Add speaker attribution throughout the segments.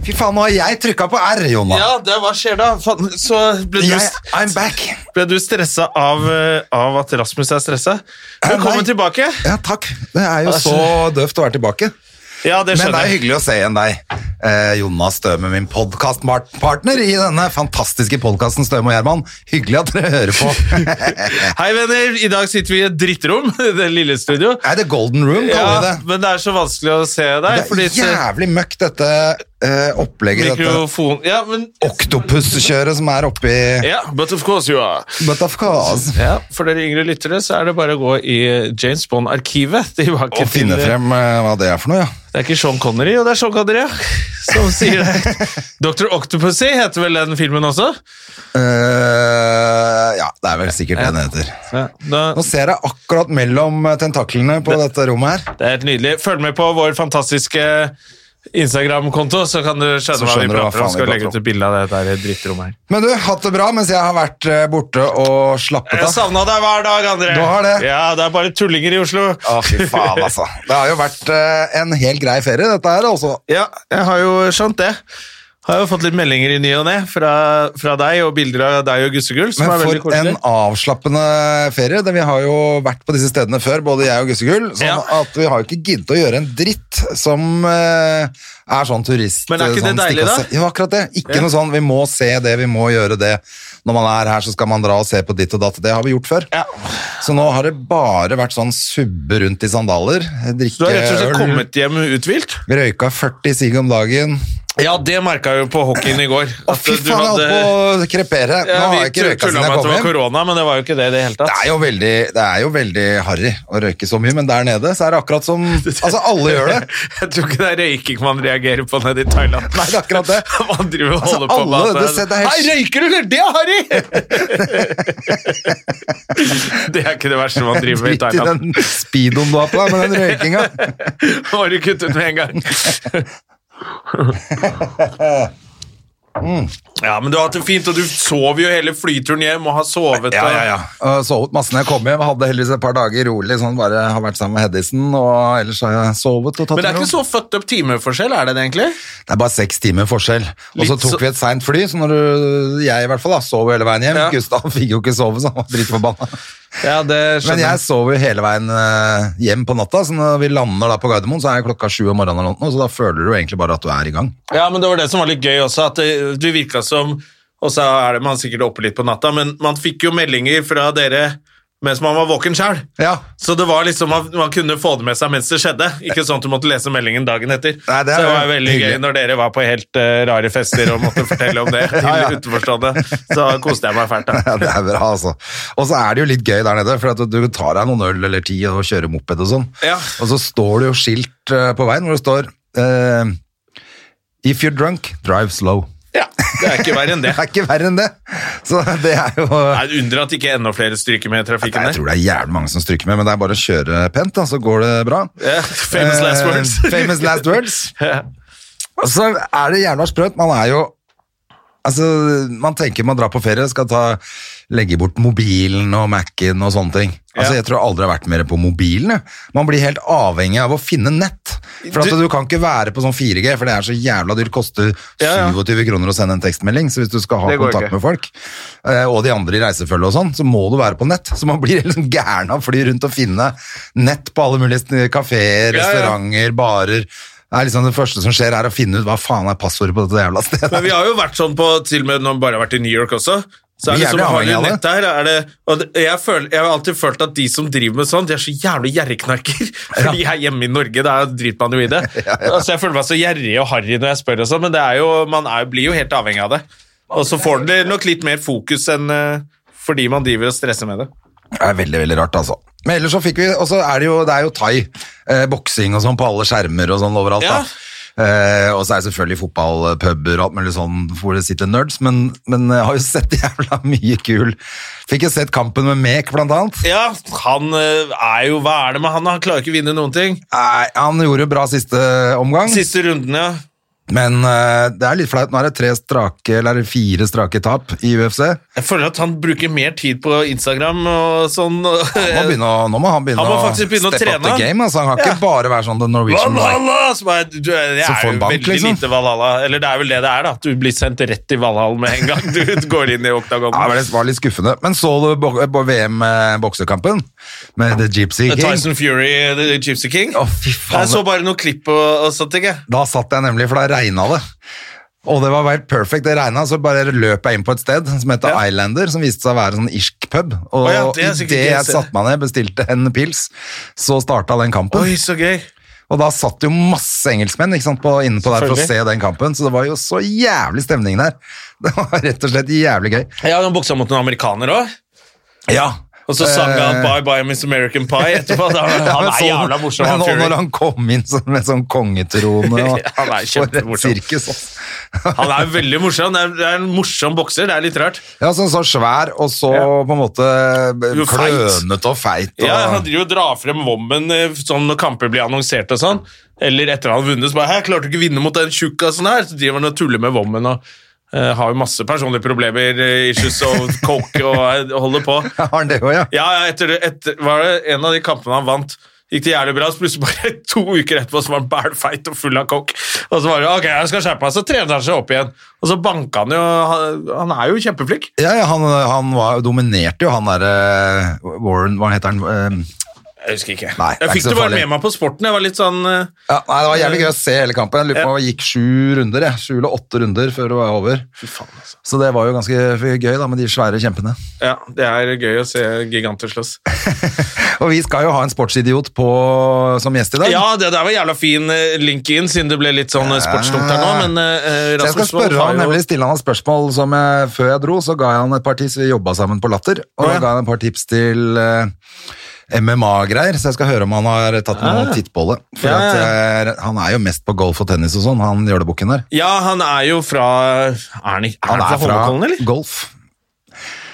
Speaker 1: Fy faen, nå har jeg trykka på R, Jonna.
Speaker 2: Ja, det, hva skjer da? Faen, så ble du,
Speaker 1: Jeg, I'm back.
Speaker 2: ble du stressa av, eh, av at Rasmus er stressa? Velkommen
Speaker 1: nei.
Speaker 2: tilbake.
Speaker 1: Ja, takk. Det er jo
Speaker 2: Ja, det
Speaker 1: så døvt å være tilbake.
Speaker 2: Ja,
Speaker 1: Men
Speaker 2: det
Speaker 1: det er
Speaker 2: skjønner jeg.
Speaker 1: hyggelig å se igjen deg, eh, Jonas Støme, min podkastpartner i denne fantastiske podkasten Støme og Gjerman. Hyggelig at dere hører på.
Speaker 2: Hei, venner. I dag sitter vi i et drittrom. Det lille studio.
Speaker 1: er det Golden Room, kaller vi
Speaker 2: Ja,
Speaker 1: det?
Speaker 2: men det er så vanskelig å se
Speaker 1: Det
Speaker 2: deg.
Speaker 1: er
Speaker 2: Fordi så-
Speaker 1: jævlig møkk, dette eh, opplegget. Dette
Speaker 2: mikrofon Ja, men
Speaker 1: oktopuskjøret som er oppi
Speaker 2: Ja, but of course you are.
Speaker 1: But of course.
Speaker 2: Ja, For dere yngre lyttere så er det bare å gå i eh, James Bond-arkivet. tilbake
Speaker 1: Å
Speaker 2: til-
Speaker 1: finne frem eh, hva det er for noe, ja.
Speaker 2: Det er ikke Sean Connery, og det er Sean Connery, ja. Som sier det. Dr. Octopussy heter vel den filmen også?
Speaker 1: Eh, ja, det er vel sikkert det den heter.
Speaker 2: Ja, da,
Speaker 1: Nå ser jeg akkurat mellom eh, tentaklene på dette rommet her.
Speaker 2: Det er helt nydelig. Følg med på vår fantastiske Instagram-konto, så kan du skjønne
Speaker 1: Så
Speaker 2: hva vi
Speaker 1: skjønner du hva
Speaker 2: prater om.
Speaker 1: faen vi
Speaker 2: Skal
Speaker 1: prater
Speaker 2: legge ut
Speaker 1: om.
Speaker 2: et bilde av det der drittrommet her.
Speaker 1: Men du, hatt det bra mens jeg har vært eh, borte og slappet
Speaker 2: Jeg
Speaker 1: av.
Speaker 2: savna deg hver dag, André.
Speaker 1: Du har det.
Speaker 2: Ja, det er bare tullinger i Oslo.
Speaker 1: Å, fy faen, altså. Det har jo vært eh, en helt grei ferie, dette her, altså.
Speaker 2: Ja, jeg har jo skjønt det. Har jo fått litt meldinger i ny og ne fra, fra deg, og bilder av deg og Gussegull, som
Speaker 1: Men
Speaker 2: er veldig
Speaker 1: for en
Speaker 2: koselig.
Speaker 1: avslappende ferie. Det, vi har jo vært på disse stedene før, både jeg og Gussegull, sånn
Speaker 2: Ja.
Speaker 1: at vi har jo ikke giddet å gjøre en dritt som eh, er sånn turist.
Speaker 2: Men er ikke det
Speaker 1: sånn, stikk
Speaker 2: deilig,
Speaker 1: og
Speaker 2: da?
Speaker 1: se- Jo, akkurat det. Ikke noe sånn 'vi må se det, vi må gjøre det'. Når man er her, så skal man dra og se på ditt og datt. Det har vi gjort før.
Speaker 2: Ja.
Speaker 1: Så nå har det bare vært sånn subbe rundt i sandaler,
Speaker 2: Du
Speaker 1: drikke
Speaker 2: har rett og slett
Speaker 1: øl,
Speaker 2: kommet hjem uthvilt?
Speaker 1: røyka 40 sigg om dagen.
Speaker 2: Ja, det merka jeg jo på hockeyen i går.
Speaker 1: Å, fy
Speaker 2: du
Speaker 1: faen, jeg holdt på å krepere. Nå
Speaker 2: Ja,
Speaker 1: har
Speaker 2: vi
Speaker 1: jeg ikke
Speaker 2: tulla
Speaker 1: røyka
Speaker 2: med
Speaker 1: siden jeg
Speaker 2: at det
Speaker 1: kom
Speaker 2: var
Speaker 1: hjem.
Speaker 2: korona, men det var jo ikke det i det hele
Speaker 1: Det
Speaker 2: tatt.
Speaker 1: er jo veldig, det er jo veldig harry å røyke så mye, men der nede så er det akkurat som Altså, alle gjør det.
Speaker 2: Jeg tror ikke det er røyking man reagerer på nede i Thailand.
Speaker 1: Nei, det er akkurat det.
Speaker 2: Man driver og
Speaker 1: Altså,
Speaker 2: holder på
Speaker 1: alle,
Speaker 2: med
Speaker 1: det ser- det er helt-
Speaker 2: Hei, røyker du, eller? Det er harry! det er ikke det verste man driver med i
Speaker 1: Dritt i
Speaker 2: Thailand.
Speaker 1: den speedoen du har på deg med den røykinga.
Speaker 2: Nå har du kuttet med en gang.
Speaker 1: Mm.
Speaker 2: Ja, men du har hatt det fint, og du sov jo hele flyturen hjem og har sovet.
Speaker 1: Ja,
Speaker 2: og-
Speaker 1: ja, ja. Og Sovet masse når jeg kom hjem. Hadde heldigvis et par dager rolig, sånn bare har vært sammen med Hedisen, og ellers har jeg sovet og tatt
Speaker 2: Men det er
Speaker 1: ro.
Speaker 2: ikke så fucked up timeforskjell, er det det egentlig?
Speaker 1: Det er bare seks timer forskjell. Og så
Speaker 2: Litt så-
Speaker 1: tok vi et seint fly, så når du, jeg i hvert fall da, sov jo hele veien hjem.
Speaker 2: Ja.
Speaker 1: Gustav fikk jo ikke sove, så han var dritforbanna.
Speaker 2: Ja, det
Speaker 1: Men jeg sov jo hele veien eh, hjem på natta, så når vi lander da på Gardermoen, så er klokka sju om morgenen, eller noe, så da føler du jo egentlig bare at du er i gang.
Speaker 2: Ja, men det var det som var litt gøy også, at det- du virka som Og så er det man sikkert oppe litt på natta, men man fikk jo meldinger fra dere mens man var våken sjøl.
Speaker 1: Ja.
Speaker 2: Så det var liksom, man, man kunne få det med seg mens det skjedde. Ikke sånn at du måtte lese meldingen dagen etter.
Speaker 1: Nei, det er
Speaker 2: så det var
Speaker 1: jo
Speaker 2: veldig
Speaker 1: hyggelig.
Speaker 2: gøy når dere var på helt eh, rare fester og måtte fortelle om det til
Speaker 1: Ja, ja.
Speaker 2: utenforstående. Så koste jeg meg fælt, da.
Speaker 1: Ja, det er bra, altså. Og så er det jo litt gøy der nede, for at du tar deg noen øl eller ti og kjører moped og sånn.
Speaker 2: Ja.
Speaker 1: Og så står det jo skilt eh, på veien hvor det står eh, If you're drunk, drive slow.
Speaker 2: Ja, Det er ikke verre enn
Speaker 1: Det
Speaker 2: det.
Speaker 1: er ikke verre enn det. Så det er jo
Speaker 2: Det er et under at ikke enda flere stryker med i trafikken
Speaker 1: Nei, jeg
Speaker 2: der.
Speaker 1: tror det er jævlig mange som stryker med, men det er bare å kjøre pent, da, så går det bra.
Speaker 2: Ja, famous last words.
Speaker 1: Eh, famous last words.
Speaker 2: Ja.
Speaker 1: Og så er det jævla sprøtt. Man er jo Altså, man tenker man drar på ferie, skal ta, legge bort mobilen og Mac-en og sånne ting. Altså,
Speaker 2: Ja.
Speaker 1: Jeg tror jeg aldri har vært mer på mobilen. jeg. Man blir helt avhengig av å finne nett. For at
Speaker 2: Du-
Speaker 1: du kan ikke være på sånn 4G, for det er så jævla dyrt. Koster
Speaker 2: Ja, ja.
Speaker 1: 27 kroner å sende en tekstmelding. Så hvis du skal ha
Speaker 2: Det går
Speaker 1: kontakt
Speaker 2: ikke.
Speaker 1: med folk, eh, og de andre i reisefølget og sånn, så må du være på nett. Så man blir liksom gæren av å fly rundt og finne nett på alle mulige kafeer,
Speaker 2: Ja, ja.
Speaker 1: restauranter, barer. Det er liksom det første som skjer, er å finne ut hva faen er passordet på dette jævla stedet.
Speaker 2: Men vi har jo vært sånn på til og med når vi bare har vært i New York også. Så er
Speaker 1: Vi
Speaker 2: det
Speaker 1: er
Speaker 2: som
Speaker 1: jævlig
Speaker 2: har
Speaker 1: avhengig
Speaker 2: det
Speaker 1: av
Speaker 2: nett der, er det, og det- jeg, føler, jeg har alltid følt at de som driver med sånn, de er så jævlig gjerrigknarker. Fordi her hjemme i Norge, da driter man jo i det. Altså, jeg føler meg så gjerrig og harry når jeg spør, og sånn, men det er jo, man er, blir jo helt avhengig av det. Og så får det nok litt mer fokus enn eh, fordi man driver og stresser med det.
Speaker 1: Det er veldig, veldig rart, altså. Men ellers så fikk vi, og så er det jo, det er jo thai, eh, boksing og sånn på alle skjermer og sånn overalt
Speaker 2: Ja.
Speaker 1: da. Eh, og så er det selvfølgelig fotballpuber og alt mulig sånn hvor det sitter nerds, men, men jeg har jo sett jævla mye kul. Fikk jo sett kampen med Mek, blant annet.
Speaker 2: Ja, han eh, er jo Hva er det med han? da? Han klarer ikke å vinne noen ting.
Speaker 1: Nei, han gjorde bra siste omgang,
Speaker 2: Siste runden, ja.
Speaker 1: men eh, det er litt flaut. Nå er det tre strake, eller fire strake tap i UFC.
Speaker 2: Jeg føler at han bruker mer tid på Instagram og sånn.
Speaker 1: Må begynne, å- nå må han begynne,
Speaker 2: Han må faktisk begynne å
Speaker 1: steppe up
Speaker 2: trene.
Speaker 1: the game. Altså, han kan
Speaker 2: Ja.
Speaker 1: ikke bare være sånn The Norwegian Light.
Speaker 2: Valhalla! Som er, du, er- det
Speaker 1: Så
Speaker 2: er
Speaker 1: få
Speaker 2: jo
Speaker 1: en bank,
Speaker 2: veldig
Speaker 1: liksom.
Speaker 2: lite Valhalla. Eller det er vel det det er, da. at Du blir sendt rett i Valhalla med en gang du går inn i oktagonen.
Speaker 1: Ja, det var litt- var litt skuffende. Men så du bo- bo- VM-boksekampen eh, med The Gypsy King?
Speaker 2: Tyson Fury, The Gypsy King.
Speaker 1: Å, fy faen.
Speaker 2: Jeg så bare noen klipp og, og sånt, ikke?
Speaker 1: Da satt jeg nemlig, for da regna det. Og det var helt perfect. Det regna, så bare løp jeg inn på et sted som heter
Speaker 2: Ja.
Speaker 1: Islander, som viste seg å være en sånn irsk pub. Og
Speaker 2: Å ja, det er
Speaker 1: i
Speaker 2: sikkert
Speaker 1: det
Speaker 2: det
Speaker 1: jeg
Speaker 2: stedet.
Speaker 1: satte meg ned, bestilte en pils, så starta den kampen.
Speaker 2: Oi, så gøy.
Speaker 1: Og da satt jo masse engelskmenn ikke sant, på, inne på der for å
Speaker 2: Selvfølgelig.
Speaker 1: se den kampen, så det var jo så jævlig stemning der. Det var rett og slett jævlig gøy.
Speaker 2: Ja, han boksa mot en amerikaner òg.
Speaker 1: Ja.
Speaker 2: Og så sang han Bye Bye Miss American Pie etterpå. Da, han
Speaker 1: Eh. Ja, men
Speaker 2: er
Speaker 1: så-
Speaker 2: jævla morsom,
Speaker 1: Men
Speaker 2: han
Speaker 1: nå når
Speaker 2: Fury.
Speaker 1: han kom inn sånn, med sånn kongetrone og
Speaker 2: Ja, han er kjempemorsom.
Speaker 1: For et sirkus, ass.
Speaker 2: Han er veldig morsom. Det er, det er en morsom bokser. Det er litt rart.
Speaker 1: Ja, sånn så svær, og så på en måte eh,
Speaker 2: Jo, feit.
Speaker 1: klønete og feit. Og...
Speaker 2: Ja, Han driver og drar frem vommen eh, sånn når kamper blir annonsert og sånn. Eller etter han har vunnet, så bare 'Hæ, klarte du ikke å vinne mot den tjukkasen her?' Så driver han og tuller med vommen og eh, har jo masse personlige problemer, eh, issues og coke og eh, holder på.
Speaker 1: Har han det òg, ja?
Speaker 2: Ja, ja, etter, etter var det en av de kampene han vant. Gikk det jævlig bra, så plutselig bare to uker etterpå så var han bælfeit og full av kokk. Og så var det ok, jeg skal skjerpe meg, så trener han seg opp igjen. Og så banka han jo Han, han er jo kjempeflink.
Speaker 1: Ja, ja, han, han var, dominerte jo han derre Warren Hva heter han? Eh,
Speaker 2: Jeg husker ikke.
Speaker 1: Nei, det er
Speaker 2: jeg
Speaker 1: ikke
Speaker 2: fikk
Speaker 1: så
Speaker 2: det bare
Speaker 1: farlig.
Speaker 2: med meg på sporten. Jeg var litt sånn eh,
Speaker 1: ja, nei, Det var jævlig gøy å se hele kampen. Jeg lurer på om det gikk sju runder, jeg. Sju eller åtte runder før det var over.
Speaker 2: Fy faen, altså.
Speaker 1: Så det var jo ganske gøy da, med de svære kjempene.
Speaker 2: Ja, det er gøy å se giganter slåss.
Speaker 1: Og vi skal jo ha en sportsidiot på, som gjest i dag.
Speaker 2: Ja, det der var jævla fin eh, link in, siden det ble litt sånn eh, sportstungt her nå, men eh,
Speaker 1: Så jeg skal
Speaker 2: Rasmus Wold
Speaker 1: spørre
Speaker 2: har
Speaker 1: han,
Speaker 2: jo-
Speaker 1: nemlig stille han et spørsmål som jeg, før jeg dro, så ga jeg han et par tips, vi jobba sammen på Latter, og
Speaker 2: Å, ja.
Speaker 1: da ga han et par tips til eh, MMA-greier, så jeg skal høre om han har tatt noen
Speaker 2: Ah.
Speaker 1: tittbolle. For
Speaker 2: Ja, ja,
Speaker 1: At, eh, han er jo mest på golf og tennis og sånn, han jølebukken der.
Speaker 2: Ja, han er jo fra Er han, er han fra Holmenkollen, eller?
Speaker 1: golf.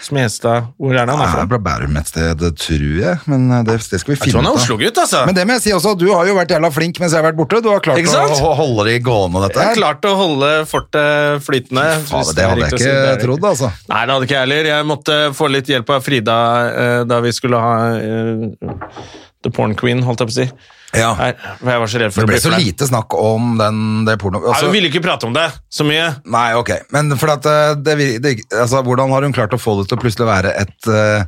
Speaker 2: Smestad. Hvor er det han
Speaker 1: Han
Speaker 2: er fra?
Speaker 1: er fra Bærum et sted, tror jeg, men eh, det, det skal vi
Speaker 2: Jeg
Speaker 1: finne
Speaker 2: tror han
Speaker 1: ut
Speaker 2: er
Speaker 1: av.
Speaker 2: Oslo-gutt, altså.
Speaker 1: Men det må jeg si også, du har jo vært jævla flink mens jeg har vært borte. Du har klart
Speaker 2: Ikke sant?
Speaker 1: å ho- holde det gående, dette
Speaker 2: jeg har
Speaker 1: her.
Speaker 2: klart å holde fortet flytende.
Speaker 1: Fader,
Speaker 2: hvis
Speaker 1: det
Speaker 2: er
Speaker 1: hadde jeg
Speaker 2: riktig å si. Det er
Speaker 1: ikke
Speaker 2: riktig.
Speaker 1: trodd, altså.
Speaker 2: Nei, det hadde ikke jeg heller. Jeg måtte få litt hjelp av Frida eh, da vi skulle ha eh, The Porn Queen, holdt jeg på å si.
Speaker 1: Ja.
Speaker 2: Her, for jeg var så redd
Speaker 1: For
Speaker 2: for
Speaker 1: det ble
Speaker 2: å
Speaker 1: så
Speaker 2: flau.
Speaker 1: lite snakk om den, det porno...
Speaker 2: Nei,
Speaker 1: altså-
Speaker 2: Hun ville ikke prate om det så mye.
Speaker 1: Nei, ok. Men for at eh, det, vir- det, altså, hvordan har hun klart å få det til å plutselig være et eh,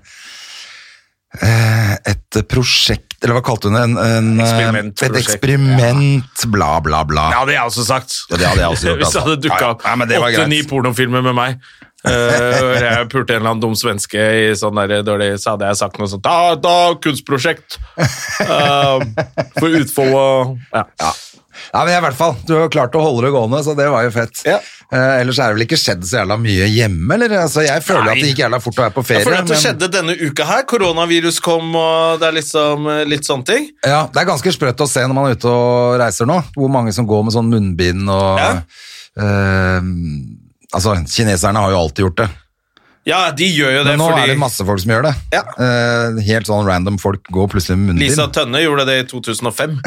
Speaker 1: eh, et prosjekt Eller hva kalte hun det? En, en, eh,
Speaker 2: Eksperimentprosjekt.
Speaker 1: Et eksperiment, bla, bla, bla.
Speaker 2: Det hadde jeg også sagt.
Speaker 1: Ja, det hadde jeg også gjort,
Speaker 2: Hvis det
Speaker 1: altså.
Speaker 2: hadde dukka opp
Speaker 1: Nei, nei, men det var greit.
Speaker 2: åtte-ni pornofilmer med meg. eh, hvor jeg pulte en eller annen dum svenske i sånn der dårlig Så hadde jeg sagt noe sånt Da, da kunstprosjekt! Eh, for utfold og ja.
Speaker 1: Ja, men i hvert fall, Du har klart å holde det gående, så det var jo fett.
Speaker 2: Ja.
Speaker 1: Eh, ellers er det vel ikke skjedd så jævla mye hjemme? eller? Altså, Jeg føler
Speaker 2: Nei.
Speaker 1: at det gikk jævla fort å være på
Speaker 2: Ja,
Speaker 1: ferie.
Speaker 2: for dette
Speaker 1: men-
Speaker 2: skjedde denne uka her. Koronavirus kom, og det er liksom eh, litt sånne ting.
Speaker 1: Ja, Det er ganske sprøtt å se når man er ute og reiser nå, hvor mange som går med sånn munnbind og
Speaker 2: Ja.
Speaker 1: eh, Altså, kineserne har jo alltid gjort det,
Speaker 2: Ja, de gjør jo det
Speaker 1: men nå
Speaker 2: fordi
Speaker 1: er det masse folk som gjør det.
Speaker 2: Ja.
Speaker 1: Eh, helt sånn random folk går plutselig med munnbind.
Speaker 2: Lisa Tønne gjorde det i 2005.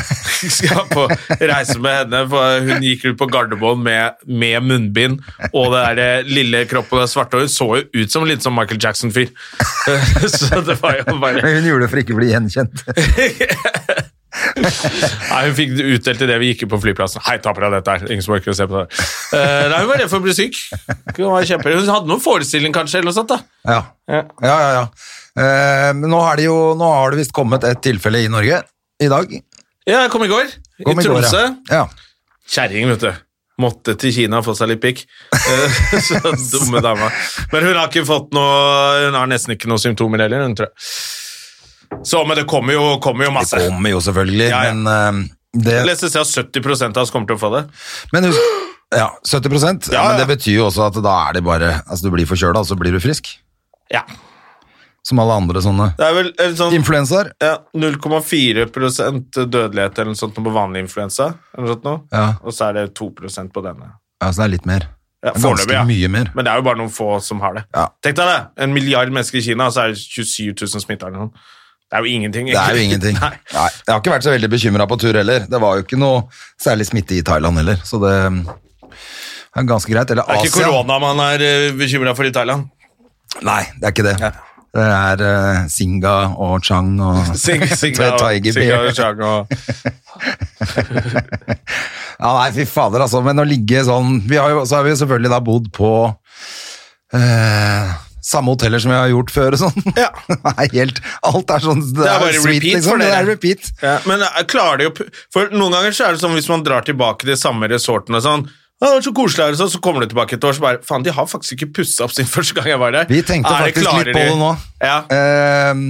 Speaker 2: Skal på reise med henne, for hun gikk ut på Gardermoen med, med munnbind og det der eh, lille kroppen og det svarte, og hun så jo ut som litt sånn Michael Jackson-fyr. Så det var jo bare
Speaker 1: Men hun gjorde det for ikke å bli gjenkjent.
Speaker 2: Nei, hun fikk det utdelt idet vi gikk ut på flyplassen. Hei, ta på deg dette her. Ingen som orker å se på det. Eh, Nei, hun var redd for å bli syk. Hun, var kjempe- hun hadde noen forestilling, kanskje, eller noe sånt. da
Speaker 1: Ja, ja, ja. ja. Eh, men nå, er det jo, nå har det visst kommet et tilfelle i Norge i dag.
Speaker 2: Ja, jeg kom i går.
Speaker 1: Kom
Speaker 2: I
Speaker 1: går, ja.
Speaker 2: Tromsø.
Speaker 1: Ja.
Speaker 2: Kjerring, vet du. Måtte til Kina få seg litt pikk. Eh, Så dumme dama. Men hun har ikke fått noe Hun har nesten ikke noen symptomer heller, hun, tror jeg. Så, men det kommer jo, kommer jo masse.
Speaker 1: Det
Speaker 2: Jeg
Speaker 1: kommer jo selvfølgelig,
Speaker 2: Ja, ja.
Speaker 1: men eh, det
Speaker 2: leste et sted at 70 av oss kommer til å få det.
Speaker 1: Men husk, ja, 70 ja,
Speaker 2: Ja,
Speaker 1: Men
Speaker 2: ja.
Speaker 1: det betyr jo også at da er det bare Altså, du blir forkjøla, og så blir du frisk.
Speaker 2: Ja.
Speaker 1: som alle andre sånne
Speaker 2: Det er vel en sånn
Speaker 1: influensaer.
Speaker 2: ja, 0,4 dødelighet eller noe sånt på vanlig influensa. Eller noe sånt nå.
Speaker 1: Ja.
Speaker 2: Og så er det 2 på denne.
Speaker 1: Ja, så Altså, det er litt mer. Det er
Speaker 2: Ja,
Speaker 1: Ganske
Speaker 2: foreløpig, ja.
Speaker 1: mye mer.
Speaker 2: Men det er jo bare noen få som har det.
Speaker 1: Ja.
Speaker 2: Tenk deg det! En milliard mennesker i Kina, og så er det 27 000 smitta eller noe. Det er jo ingenting.
Speaker 1: Det er jo
Speaker 2: egentlig.
Speaker 1: ingenting.
Speaker 2: Nei.
Speaker 1: Nei, jeg har ikke vært så veldig bekymra på tur heller. Det var jo ikke noe særlig smitte i Thailand heller, så det um, er ganske greit. Eller
Speaker 2: Det er
Speaker 1: Asia.
Speaker 2: ikke korona man er bekymra for i Thailand.
Speaker 1: Nei, det er ikke det. Det er eh, Singa og Chang og
Speaker 2: Sing, sing,
Speaker 1: Tiger Beer.
Speaker 2: og,
Speaker 1: Ja, nei, fy fader, altså. Men å ligge sånn vi har jo, Så har vi jo selvfølgelig da bodd på eh, samme hoteller som vi har gjort før og sånn.
Speaker 2: Ja.
Speaker 1: Nei, helt Alt er sånn Det,
Speaker 2: er
Speaker 1: jo
Speaker 2: bare repeat for
Speaker 1: Det
Speaker 2: dere.
Speaker 1: er repeat.
Speaker 2: ja, men eh, klarer de å pu- For noen ganger så er det sånn hvis man drar tilbake til samme resorten og sånn «Å, det var så koselig her, og sånn», så kommer du tilbake et år, så bare Faen, de har faktisk ikke pussa opp sin første gang jeg var der.
Speaker 1: Vi tenkte
Speaker 2: Er det-
Speaker 1: faktisk litt
Speaker 2: klarer
Speaker 1: på
Speaker 2: de-
Speaker 1: det nå.
Speaker 2: Ja.
Speaker 1: Ehm,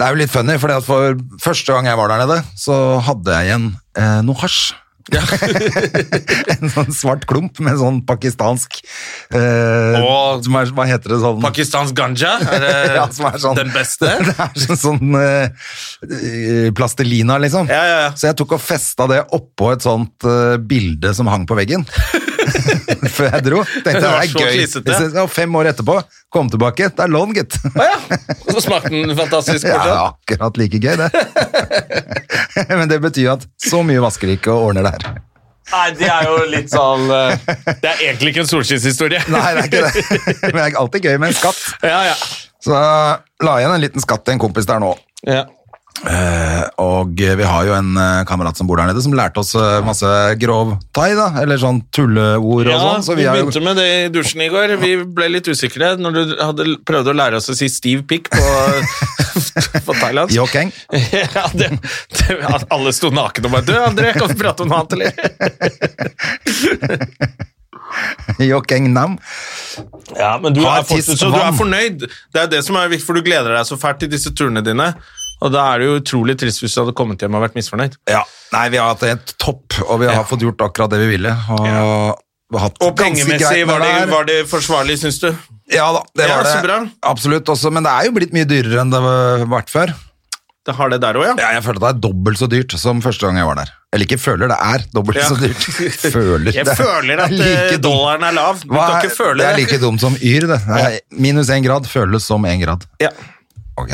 Speaker 1: det er jo litt funny, fordi at for første gang jeg var der nede, så hadde jeg igjen eh, noe hasj. en sånn svart klump med sånn pakistansk eh,
Speaker 2: Åh.
Speaker 1: som er, Hva heter det sånn?
Speaker 2: Pakistans ganja er, det
Speaker 1: Ja, som er sånn-
Speaker 2: den beste.
Speaker 1: Det er sånn, sånn eh, plastelina, liksom.
Speaker 2: Ja, ja, ja.
Speaker 1: Så jeg tok og festa det oppå et sånt eh, bilde som hang på veggen. Før jeg dro. Tenkte
Speaker 2: Det
Speaker 1: det
Speaker 2: var
Speaker 1: er
Speaker 2: så
Speaker 1: gøy.
Speaker 2: klissete.
Speaker 1: Hvis jeg- ja, fem år etterpå, kom tilbake. Det er lån, gitt.
Speaker 2: Å ja! Så smakte den
Speaker 1: Ja,
Speaker 2: fantastisk
Speaker 1: det
Speaker 2: fortsatt.
Speaker 1: er akkurat like gøy, det. Men det betyr jo at så mye vasker de ikke og ordner det her.
Speaker 2: Nei, det er jo litt sånn eh, Det er egentlig ikke en solskinnshistorie.
Speaker 1: Nei, det er ikke det. Men det er alltid gøy med en skatt.
Speaker 2: Ja, ja.
Speaker 1: Så la jeg igjen en liten skatt til en kompis der nå.
Speaker 2: ja.
Speaker 1: Eh, og eh, vi har jo en eh, kamerat som bor der nede, som lærte oss eh, masse grov thai, da, eller sånn tulleord og
Speaker 2: Ja,
Speaker 1: sånn. Så
Speaker 2: vi
Speaker 1: vi har jo
Speaker 2: begynte med det i dusjen i går. Vi ble litt usikre når du hadde prøvd å lære oss å si stiv pikk på, på thailandsk.
Speaker 1: Yokeng.
Speaker 2: Ja, det, det, at alle sto naken og bare Du, André, kan vi prate om noe annet, eller?
Speaker 1: Yokeng nam.
Speaker 2: Ja, men du
Speaker 1: Har
Speaker 2: er, fortsatt,
Speaker 1: tiss
Speaker 2: så
Speaker 1: og
Speaker 2: du er
Speaker 1: vann.
Speaker 2: fornøyd. Det er det som er viktig, for du gleder deg så fælt til disse turene dine. Og da er det jo utrolig trist hvis du hadde kommet hjem og vært misfornøyd.
Speaker 1: Ja. Nei, vi har hatt det helt topp, og vi har fått gjort akkurat det vi ville. Og, vi har hatt
Speaker 2: Og
Speaker 1: ganske
Speaker 2: pengemessig,
Speaker 1: greit med
Speaker 2: var det,
Speaker 1: her.
Speaker 2: var det forsvarlig, syns du?
Speaker 1: Ja da, det
Speaker 2: Ja,
Speaker 1: var det.
Speaker 2: så bra.
Speaker 1: Absolutt også, men det er jo blitt mye dyrere enn det har vært før.
Speaker 2: Det har det der òg, ja.
Speaker 1: Ja, jeg føler at det er dobbelt så dyrt som første gang jeg var der. Eller ikke føler, det er dobbelt
Speaker 2: Ja.
Speaker 1: så dyrt. Føler.
Speaker 2: Jeg
Speaker 1: det er-
Speaker 2: føler at
Speaker 1: det er
Speaker 2: eh,
Speaker 1: like dumt.
Speaker 2: dollaren er lav. Du
Speaker 1: Hva
Speaker 2: kan
Speaker 1: er-
Speaker 2: ikke føle
Speaker 1: det
Speaker 2: det.
Speaker 1: er like dumt som yr, det. Det er Minus én grad føles som én grad.
Speaker 2: Ja.
Speaker 1: Ok.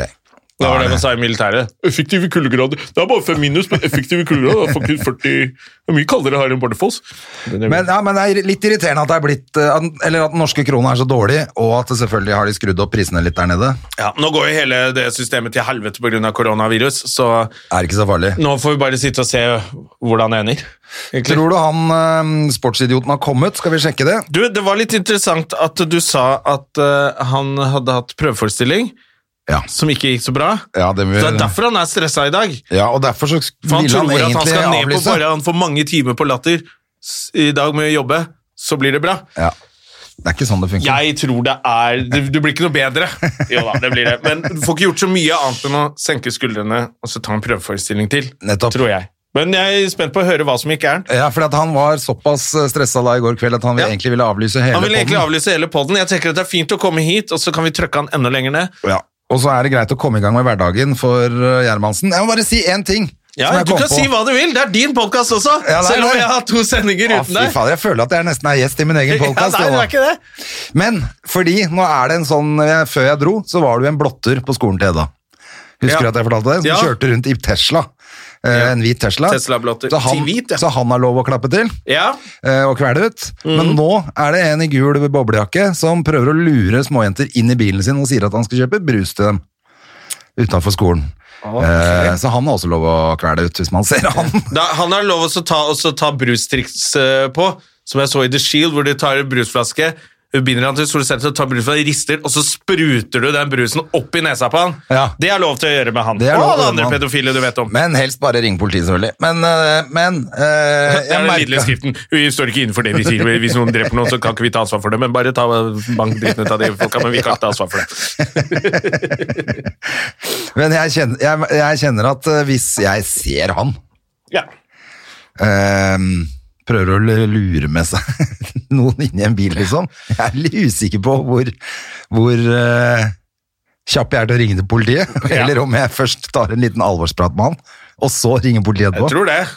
Speaker 2: Det var
Speaker 1: Da er
Speaker 2: det man sa i militæret. Effektive kuldegrader. Det er bare fem minus, men effektive kuldegrader er faktisk 40 Det er mye kaldere her enn Bardufoss.
Speaker 1: Men, ja, men det er litt irriterende at det er blitt eh, at- Eller at den norske krona er så dårlig, og at det selvfølgelig har de skrudd opp prisene litt der nede.
Speaker 2: Ja, nå går jo hele det systemet til helvete pga. koronavirus, så
Speaker 1: Er ikke så farlig.
Speaker 2: nå får vi bare sitte og se hvordan det ender. egentlig.
Speaker 1: Tror du han eh, sportsidioten har kommet? Skal vi sjekke det?
Speaker 2: Du, det var litt interessant at du sa at eh, han hadde hatt prøveforestilling
Speaker 1: Ja.
Speaker 2: som ikke gikk så bra.
Speaker 1: Ja, det,
Speaker 2: Så det er derfor han er stressa i dag.
Speaker 1: ja og derfor så
Speaker 2: For han
Speaker 1: ville han
Speaker 2: tror at han
Speaker 1: egentlig
Speaker 2: skal ned på
Speaker 1: avlyse.
Speaker 2: forhånd for mange timer på latter S- i dag med å jobbe. Så blir det bra.
Speaker 1: Ja. Det er ikke sånn det funker.
Speaker 2: Jeg tror det er Du, du blir ikke noe bedre. Jo da, det blir det. Men du får ikke gjort så mye annet enn å senke skuldrene og så ta en prøveforestilling til.
Speaker 1: Nettopp.
Speaker 2: Tror jeg. Men jeg er spent på å høre hva som gikk gærent.
Speaker 1: Ja, for at han var såpass stressa da i går kveld at han
Speaker 2: Ja.
Speaker 1: egentlig ville avlyse hele
Speaker 2: Han vil egentlig
Speaker 1: podden.
Speaker 2: avlyse hele poden. Jeg tenker at det er fint å komme hit, og så kan vi trøkke han enda lenger ned.
Speaker 1: Ja. Og så er det greit å komme i gang med hverdagen for uh, Gjermansen. Jeg må bare si én ting.
Speaker 2: Ja,
Speaker 1: som jeg
Speaker 2: Du
Speaker 1: kom
Speaker 2: kan si hva du vil! Det er din podkast også!
Speaker 1: Ja, det er
Speaker 2: selv om
Speaker 1: det.
Speaker 2: jeg har to sendinger
Speaker 1: Å,
Speaker 2: uten
Speaker 1: Ah, fy
Speaker 2: deg.
Speaker 1: fader, jeg føler at jeg nesten er gjest i min egen
Speaker 2: Ja,
Speaker 1: podkast.
Speaker 2: nei, det er ikke det.
Speaker 1: Men fordi nå er det en sånn eh, Før jeg dro, så var det jo en blotter på skolen til Edda. Husker du
Speaker 2: Ja.
Speaker 1: at jeg fortalte det? Som
Speaker 2: Ja.
Speaker 1: kjørte rundt i Tesla. eh, En hvit Tesla.
Speaker 2: Tesla-blotter.
Speaker 1: Så han,
Speaker 2: Til hvit, ja.
Speaker 1: så han har lov å klappe til.
Speaker 2: Ja.
Speaker 1: eh, og kvele ut. Men
Speaker 2: Mhm.
Speaker 1: nå er det en i gul boblejakke som prøver å lure småjenter inn i bilen sin og sier at han skal kjøpe brus til dem utenfor skolen. Eh, så han har også lov å kvele ut hvis man ser han.
Speaker 2: Da, han har lov å ta, også ta brustriks eh, på, som jeg så i The Shield, hvor de tar en brusflaske, binder han til solsenter, tar brusflaske, rister, og så spruter du den brusen opp i nesa på han.
Speaker 1: Ja.
Speaker 2: Det er lov til å gjøre med han.
Speaker 1: Det er
Speaker 2: og
Speaker 1: lov til å
Speaker 2: alle
Speaker 1: gjøre med
Speaker 2: andre
Speaker 1: han.
Speaker 2: pedofile du vet om.
Speaker 1: Men helst bare ring politiet, selvfølgelig. Men, eh, men eh,
Speaker 2: det er den
Speaker 1: merket-
Speaker 2: lille skriften. Vi står ikke innenfor det vi sier. Hvis noen dreper noen, så kan ikke vi ta ansvar for det, men bare ta bank dritten ut av de folka, men vi kan ikke ta ansvar for det.
Speaker 1: men jeg, kjenner, jeg, jeg kjenner at eh, hvis jeg ser han
Speaker 2: Ja.
Speaker 1: eh, Prøver å l- lure med seg noen inni en bil, liksom. Jeg er litt usikker på hvor, hvor eh, kjapp jeg er til å ringe til politiet, eller om jeg først tar en liten alvorsprat med han, og så ringer politiet
Speaker 2: Jeg
Speaker 1: etterpå.
Speaker 2: tror det.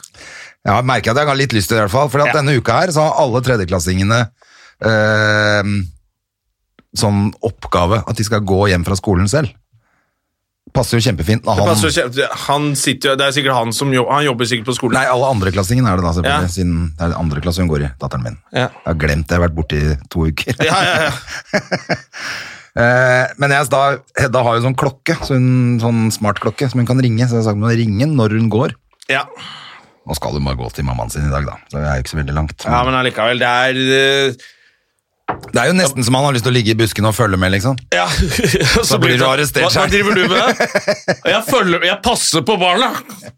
Speaker 1: Ja, jeg merker at jeg har litt lyst til det i hvert fall, for at
Speaker 2: Ja.
Speaker 1: denne uka her så har alle tredjeklassingene eh, sånn oppgave at de skal gå hjem fra skolen selv. Passer jo kjempefint. da
Speaker 2: Det
Speaker 1: Han,
Speaker 2: passer jo kjempe- Han sitter, jo- det er sikkert han som jobber, han jobber sikkert på skolen.
Speaker 1: nei, alle andreklassingen er det da, selvfølgelig,
Speaker 2: Ja.
Speaker 1: siden det er andre klasse hun går i, datteren min.
Speaker 2: Ja.
Speaker 1: Jeg har glemt det, jeg har vært borte i to uker.
Speaker 2: Ja, ja, ja.
Speaker 1: Eh, men jeg, da, Hedda har jo sånn klokke, så hun, sånn smart klokke, som hun kan ringe. Så jeg har sagt hun må ringe når hun går.
Speaker 2: ja.
Speaker 1: Nå skal hun bare gå til mammaen sin i dag, da. Så det er jo ikke så veldig langt.
Speaker 2: ja men allikevel, det er eh,
Speaker 1: Det er jo nesten som han har lyst til å ligge i busken og følge med, liksom.
Speaker 2: Ja. Så,
Speaker 1: blir du
Speaker 2: det-
Speaker 1: arrestert
Speaker 2: Hva, hva
Speaker 1: selv.
Speaker 2: driver du med? Jeg, følger, jeg passer på barna!